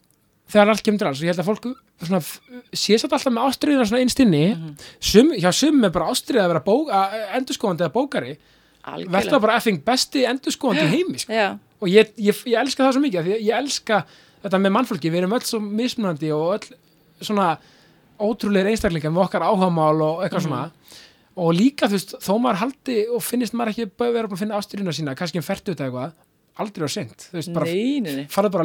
þegar allt kemur til alls, ég held að fólk svona, f- sé satt alltaf með ástriðina svona innstinni
Mhm.
sum, hjá sumum er bara ástrið að vera bók, að, endurskóðandi eða bókari verða
algjörlega
bara effing besti endurskóðandi í heimi sko.
Já,
og ég, ég, ég elska það svo mikið af því að ég elska þetta með mannfólki, við erum öll svo mismunandi og öll svona ótrúleir einstaklingar með okkar áhagamál og
Mhm.
eitthvað svona og líka þú veist, þó maður haldi og finnist maður ekki bæði vera búin að finna ásturina sína, kannski um fertu þetta eitthvað, aldrei á sent, þú veist, bara
nei, nei, nei
farað bara,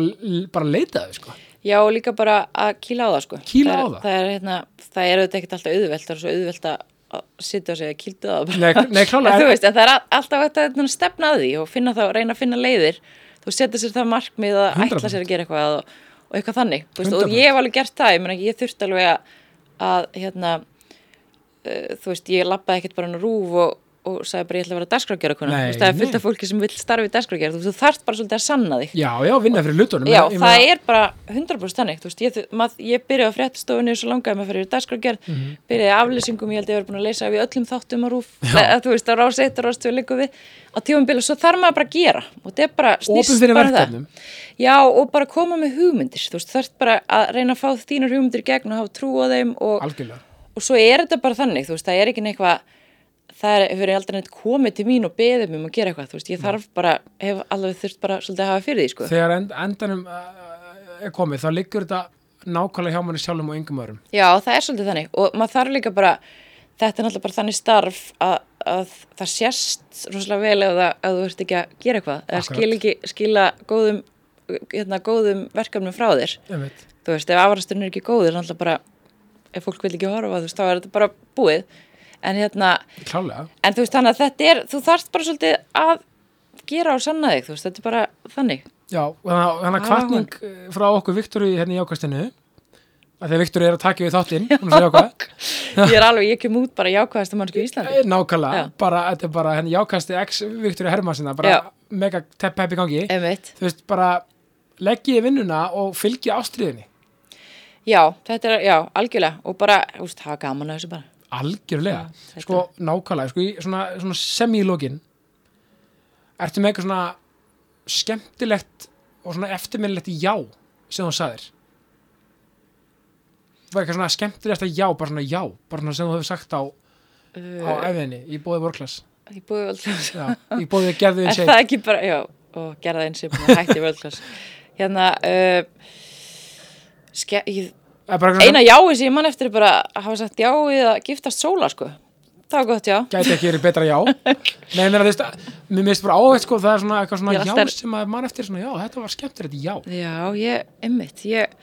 bara að leita þau sko
Já, og líka bara að kýla á það sko.
Kýla á
það er,
það?
Það er, hérna, það er auðvitað ekkert alltaf auðvelt, það er svo auðvelt að- að sitja og segja kýldu á það bara.
Nei, nei, klálega.
En þú veist, en það er all- alltaf hægt að hérna, stefna að því og finna það, reyna að finna leiðir. Þú setur sér það markmið að
100%.
ætla sér að gera eitthvað og, og eitthvað þannig. Þú Veist, og
100%.
ég hef alveg gert það, ég, meina, ég þurfti alveg að, að hérna, uh, þú veist, ég lappaði ekkert bara hann rúf og, og sagði bara ég ætla að vera dagskrákjara
Nei,
Þú veist, það er fullt
nei.
af fólki sem vill starfi dagskrákjara, þú veist, þú þarft bara svolítið að sanna þig.
Já, já, vinna fyrir lutunum
Já, það er bara 100% þannig, þú veist, ég, mað, ég byrjaði á fréttastofunni og svo langaði mig að fara yfir dagskrákgerð,
Mhm.
byrjaði í aflýsingum, ég held ég verið búin að leysa af í öllum þáttum á rúf, eða, þú veist, á rás 1 og rás 2 líka við, á tífumbil og svo þarf maður bara að gera og þetta er bara snýst
fyrir
bara um
verkefnum.
Já, og bara koma með hugmyndir, þú veist, þarf bara að reyna að fá þínar hugmyndir í gegn og hafa trú á þeim og,
Algjörlega
og svo er þetta bara þannig, þú veist, það er ekki neikvað það er, hefur aldrei neitt komið til mín og beðið mér um að gera eitthvað, þú veist, ég þarf bara, hef alveg þurft bara svolítið að hafa fyrir því, sko.
Þegar end, endanum uh, er komið þá liggur þetta nákvæmlega hjá manni sjálfum og yngum öðrum
Já, það er svolítið þannig og maður þarf líka bara, þetta er náttúrulega bara þannig starf að, að það sést rosalega vel ef, það, ef þú ert ekki að gera eitthvað eða
Akkurat.
skil ekki, skila góðum, hérna, góðum verkefnum frá þér
Einmitt.
þú veist, ef afrasturinn er ekki góður náttúrulega bara, ef fólk vil ekki horfa þú veist, þá er þetta bara búið en hérna,
Klálega
en þú veist þannig að þetta er þú þarft bara svolítið að gera og sanna þig, þú veist, þetta er bara þannig
Já, og þannig þannig að
Hafa
kvartning frá okkur Viktori hérna í ákastinu að því að Viktori er að taka við þáttinn hún er svo jákvæð.
ég er alveg, ég kem út bara jákvæðast um mannsku í Íslandi
Eh, nákvæmlega,
Já.
bara, þetta er bara henni jákasti ex Viktori Hermansina, bara
Já. Eh.
mega tepp hepp í gangi,
Einmitt.
þú veist, bara leggið í vinnuna og fylgið ástriðinni
Já, þetta er, já, algjörlega og bara, úst, hafa gaman að þessu bara
algjörlega,
þetta-
sko nákvæmlega sko, í svona, svona semílókin ertu með eitthvað svona skemmtilegt og svona eftirminnilegt já sem þú sagðir var eitthvað svona skemmtilegt já, bara svona já, bara svona sem þú hefur sagt á
Uh,
á efinni, í bóði vorklass
Ég búið völdklass
já, í bóði gerðu
Er
eins
það ekki bara, já, og gerða eins og búin að hætti völdklass Hérna, uh, ske, ég,
eitthvað
eina jái sem ég mann eftir er bara að hafa sagt já við að giftast sóla, sko Það var gott, já
gæti ekki verið betra já Nei, mér finnst mér finnst bara áhægt sko, það er svona eitthvað svona
Ég er
já
alltaf-
sem að mann eftir svona já, þetta var skemmtilegt já
Já, ég, einmitt, ég,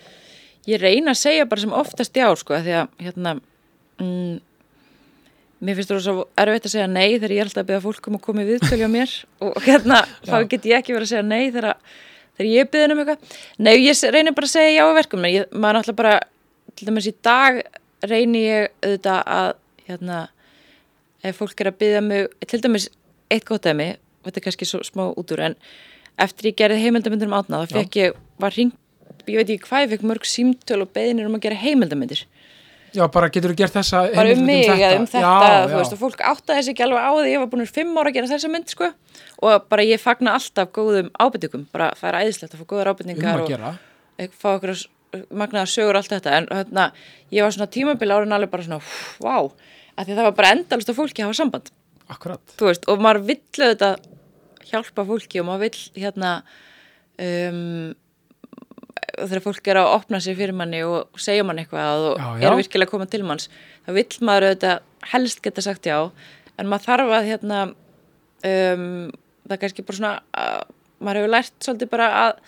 ég reyna að segja bara sem oftast já, sko, af því að, hérna, mm, mér finnst þú svo erfitt að segja nei þegar ég er alltaf að byrja fólk um að koma í viðtölu á mér og hérna, þá get ég ekki verið að segja nei þegar, þegar ég er byrðin um eitthvað. Nei, ég s- reyni bara að segja já að verkum, en ég, maður náttúrulega bara, til dæmis í dag reyni ég auðvitað að, hérna, ef fólk er að byggja mig, til dæmis eitt gott dæmi, og þetta er kannski svo smá út úr, en eftir ég gerði heimildamyndir um átna, þá fekk ég, var hringt, ég veit ekki hvað, ég fekk mörg símtöl og beðinir um að gera heimildamyndir.
Já, bara getur þú gert þessa
Bara um mig, eða um þetta,
já,
þú
já.
veist, og fólk áttaði sig ekki alveg á því, ég var búin fimm ára að gera þessa mynd, sko, og bara ég fagna alltaf góðum ábyrtingum, bara það er æðislegt að fá góðar
um
ábyrtingar
að
og
gera
ég fá okkur magnaðar sögur og allt þetta en hérna, ég var svona tímabil árin alveg bara svona, vá, wow, að því það var bara endalist að fólki að hafa samband
Akkurat,
þú veist, og maður vill auðvitað hjálpa fólki og maður vill hérna um, þegar fólk er að opna sig fyrir manni og segja manni eitthvað og
Já, já.
er virkilega að koma til manns þá vill maður auðvitað helst geta sagt já en maður þarf að hérna um, það er kannski bara svona að, maður hefur lært svolítið bara að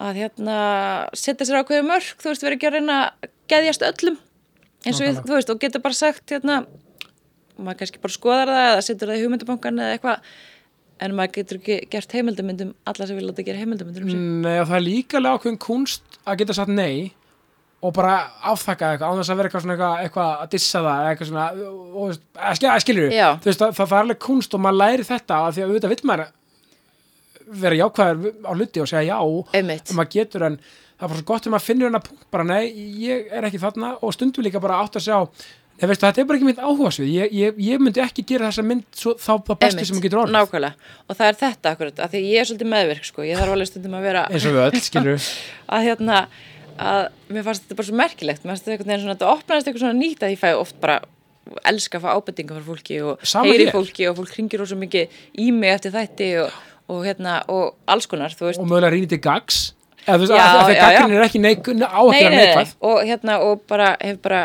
að hérna setja sér ákveðið mörg, þú veist, verið ekki að reyna að geðjast öllum eins og við,
Nákvæmlega.
þú veist, og geta bara sagt hérna maður kannski bara skoðar það eða setur það í hugmyndabankan eða eitthvað en maður getur ekki gert heimildamyndum alla sem vilja að gera heimildamyndum mm.
Nei, og það er líka alveg ákveðin kunst að geta satt nei og bara afþakka eitthvað, án þess að vera eitthvað svona eitthvað, eitthvað að dissa það eða eitthvað svona, og, og, og skil, skilur
Já.
þú veist, það, það er alveg kunst og maður læri þetta af því að auðvitað vill maður vera jákvæður á hluti og segja já
einmitt,
sem Mm. maður getur en það er bara svo gott þegar maður finnur hennar punkt bara nei, ég er ekki þarna og stundum líka bara átt að sjá nei veistu þetta er bara ekki mitt áhuga svið ég, ég, ég myndi ekki gera þessa mynd svo, þá það besti sem maður getur orðið
nákvæmlega og það er þetta akkurat, af því ég er svolítið meðvirk sko, ég þarf alveg stundum að vera
eins og við öll, skilur
að hérna að mér fannst þetta bara svo merkilegt mér fannst þetta einhvern veginn svona, þetta opnaðist eitthvað svona nýtt að ég fæ oft bara elska að fá ábendinga frá fólki og
Sama
heyri
hér.
fólki og fólk hringir ósum mikið í mig eftir þætti og, og hérna og alls konar, þú veist
og mögulega rýnir til gags eða þú veist,
Já,
af því að
já, já.
þegar gaggrinni er ekki neik, á ekki
nei,
að
nei, nei,
neikvæð
nei. og hérna og bara hef bara,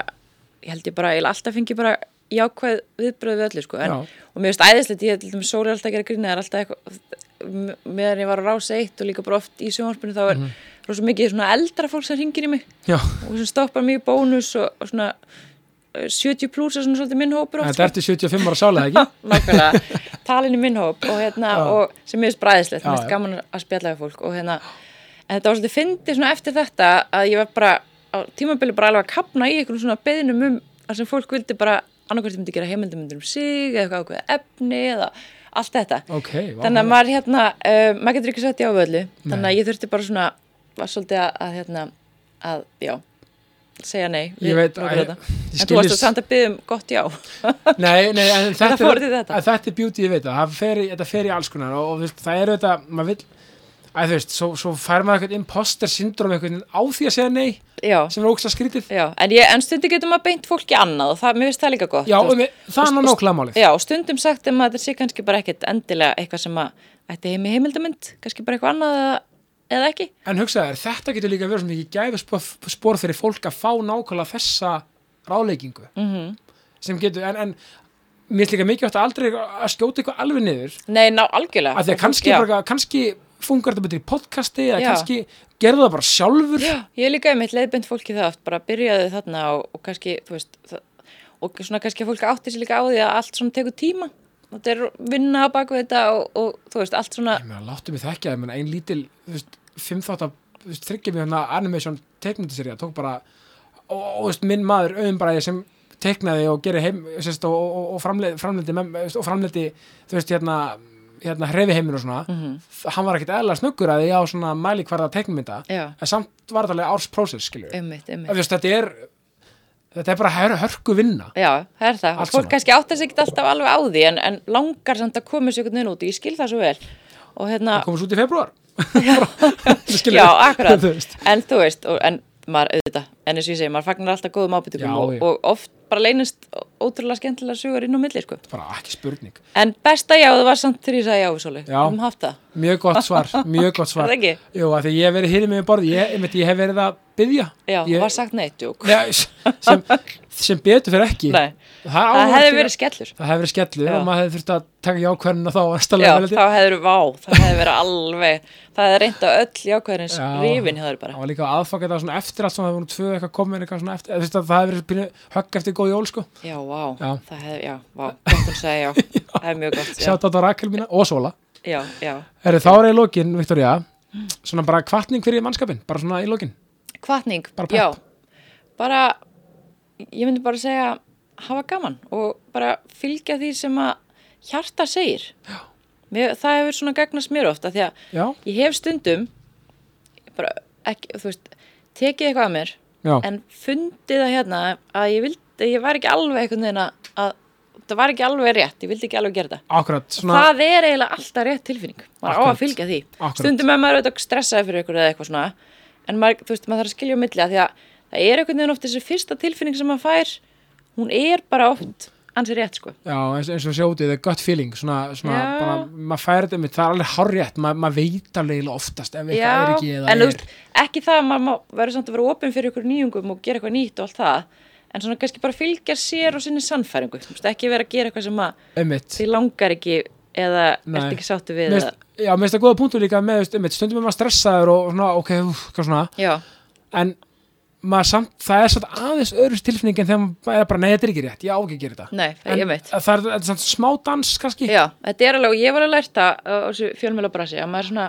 ég held ég bara ég alltaf fengi bara jákvæð viðbröð við öllu sko, en,
Já.
og mér finnst æðislegt ég til dæmis sóli
Mhm.
alltaf að gera grína, það er alltaf eitthvað m- meðan ég var á rása eitt og líka bara oft í sjónvarpinu þá er rosa mikið svona eldra fólk sem hringir í mig
Já,
og sem stoppar mig í bónus og, og svona eh, 70 pluss er svona svolítið minn hópur oft, sko.
þetta ertu 75 ára sálega ekki?
nákvæmlega, talin í minn hóp og hérna, og sem ég veist bræðislegt,
Já,
mest
já.
gaman að spjalla við fólk og hérna, en þetta var svolítið fyndið svona eftir þetta að ég var bara á tímabili bara alveg að kapna í einhvern svona beðinum um að sem fólk vildi bara annarkvært myndi gera heimildumundur um sig eða eitthvað ákveða efni eða allt þetta
Ok, vá,
þannig að maður hérna, uh, maður getur ekki sett í ávöðlu þannig
Nei.
að ég þurfti bara svona var svolítið að, að hérna, að já segja nei við
Ég veit,
nokkra
æ,
þetta.
ég
en þú varst
skilis-
samt að byggja um gott já
Nei, nei, en þetta,
fór
er,
til þetta.
að þetta er beauty, ég veit það, það fer, í- þetta fer í alls konar og, og þú veist, það er þetta, maður vil, að þú veist, svo, svo fær maður eitthvað imposter syndrom eitthvað á því að segja nei,
já,
sem er ógst skrítið.
já, en, ég, en stundum getur maður beint fólki annað og það, mér finnst það líka gott
Já,
þú
um,
veist.
það er nú nákvæmlega málið.
já, og stundum sagt um að þetta sé kannski bara ekkit endilega eitthvað sem að ætti heim í heimildamönd, kannski bara eitthvað annað eða, eða ekki
En hugsaðu þér, þetta getur líka verið svona mikið gæfuspor spor fyrir fólk að fá nákvæmlega þessa ráleikingu -hmm. sem getur, en, en mér er líka mikið átt að aldrei að skjóta eitthvað alveg niður
nei, ná, algjörlega
af því að kannski,
já.
bara, kannski fungar þetta betur í podcasti eða
Já.
kannski gerðu það bara sjálfur
Já, ég er líka einmitt leiðbend fólki það aft, bara byrjaði þarna og, og kannski, þú veist, það, og svona kannski fólk átti sér líka á því að allt svona tekur tíma. Þetta er vinna á baku þetta og, og þú veist, allt svona,
Ég meina, láttu mig þekkja, ég meina, ein lítil þú veist, fimmþátt að þryggja mér hérna animation teknundiserja, tók bara og, og þú veist, minn maður auðumbræði sem teknaði og gerir heim sérst, og, og, og framleiti, framleiti, mem- þú veist, og framleiti þú veist, hérna hérna hrefi heiminn og svona
Mhm.
hann var ekkert eðla snöggur að ég á svona mæli hverða teknmynda,
Já.
en samt var þetta alveg ársprósess, skilju,
einmitt, einmitt.
veist, þetta er þetta er bara hör, hörku vinna
Já, það er það.
Allt
fólk
saman.
kannski átti sér ekki alltaf alveg á því en, en langar samt að koma sér einhvern veginn út. Ég skil það svo vel. Og hérna,
komast út í februar skilur.
já, akkurat.
Þú veist.
en þú veist, og, en maður auðvitað, en eins og ég segi, maður fagnar alltaf góðum ábyttingum
Já,
og,
já.
og oft bara leynist ótrúlega skemmtilega sögur inn á milli, sko.
bara ekki spurning
En besta jáðu var samt þegar ég sagði jáðu svolítið.
Já.
Um haft það.
Mjög gott svar, mjög gott svar
Er það ekki?
Jú, af því ég hef verið hýrið með borð ég, einmitt, ég hef verið að byggja
Já,
ég,
það var sagt neitt, júk.
Nei, sem, sem betur fyrir ekki
Nei,
það, á
það hefði
ekki-
verið skellur.
Það hefði verið skellu
Já.
og maður hefði þurft að taka jákvörnina þá að
Já,
stala
þá hefði verið vá, það hefði verið alveg, það hefði reynda öll jákvæðarins
Já.
rifin hjá þeir bara.
Það var líka aðfangað það svona eftir allt svona það voru tvö eitthvað komin eitthvað svona eftir eða þú veist að það hefði verið pínu högg eftir góð jól sko
Já, vá,
Já.
það hefði, já, vá, gott að segja já, það er mjög gott. Já,
Sjátt á þetta Rakel mína og Sola
já, já.
Herri, þá er í lokin, Viktoria svona bara kvartning fyrir mannskapin bara svona í lokin
Hvatning,
Bara pepp.
já, bara, ég myndi bara segja, hafa gaman og bara fylgja því sem að hjarta segir. Já. Mér, það hefur svona gagnast mér ofta því að
Já,
ég hef stundum bara ekki, þú veist tekið eitthvað að mér
já,
en fundið það hérna að ég vildi, ég var ekki alveg einhvern veginn að, að það var ekki alveg rétt, ég vildi ekki alveg gera þetta
akkurat svona,
það er eiginlega alltaf rétt tilfinning maður á
Akkurat.
að fylgja því,
Akkurat.
stundum er maður auðvitað stressaði fyrir ykkur eða eitthvað svona en maður, þú veist, maður þarf að skilja á milli að því að það er einhvern veginn oft þessi fyrsta tilfinning sem maður fær hún er bara oft ansi rétt sko
Já, eins, eins og sjótið, það er gott feeling svona, svona
Já.
bara, maður færi þetta mitt, það er alveg hárétt maður mað veit alveg eiginlega oftast ef
Já,
eitthvað er ekki eða
en þú
er
veist, ekki það að maður má- verður samt að vera opinn fyrir ykkur nýjungum og gera eitthvað nýtt og allt það en svona kannski bara fylgja sér og sinni sannfæringu þú veist, ekki vera að gera eitthvað sem að
einmitt
þið langar ekki eða
Nei.
ert ekki sáttu við
Mér
eða,
finnst- Já, mér finnst það góða punktu líka með, þú veist, einmitt, stundum er maður stressaður og svona, ok, úf, hvað svona
já,
en maður samt, það er samt aðeins öðru tilfinning en þegar maður er bara, nei, þetta er ekki rétt, ég á ekki að gera þetta
nei, það er
en,
mitt
það er, þetta er samt smá dans kannski
já, þetta er alveg, og ég var að lært það á þessu fjölmjöla brasi, að maður er svona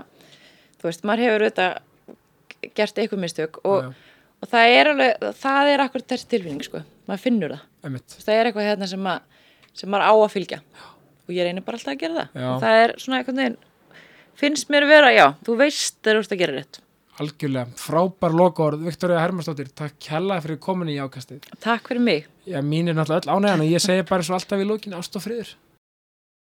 þú veist, maður hefur auðvitað gert eitthvað mistök og, og það er alveg, það er akkur þessi tilfinning sko, maður finnur það
einmitt,
Þú veist, það er eitthvað hérna sem, að, sem maður á að fylgja og ég reynir bara alltaf að gera það
Já.
og það er svona einhvern veginn finnst mér vera, já, þú veist þegar þú ert að gera rétt
algjörlega, frábær lokaorð Viktoria Hermannsdóttir, takk kella fyrir komin í ákastið
Takk fyrir mig
Já, mín er náttúrulega öll ánægðan og ég segi bara svo alltaf í lókin ást og friður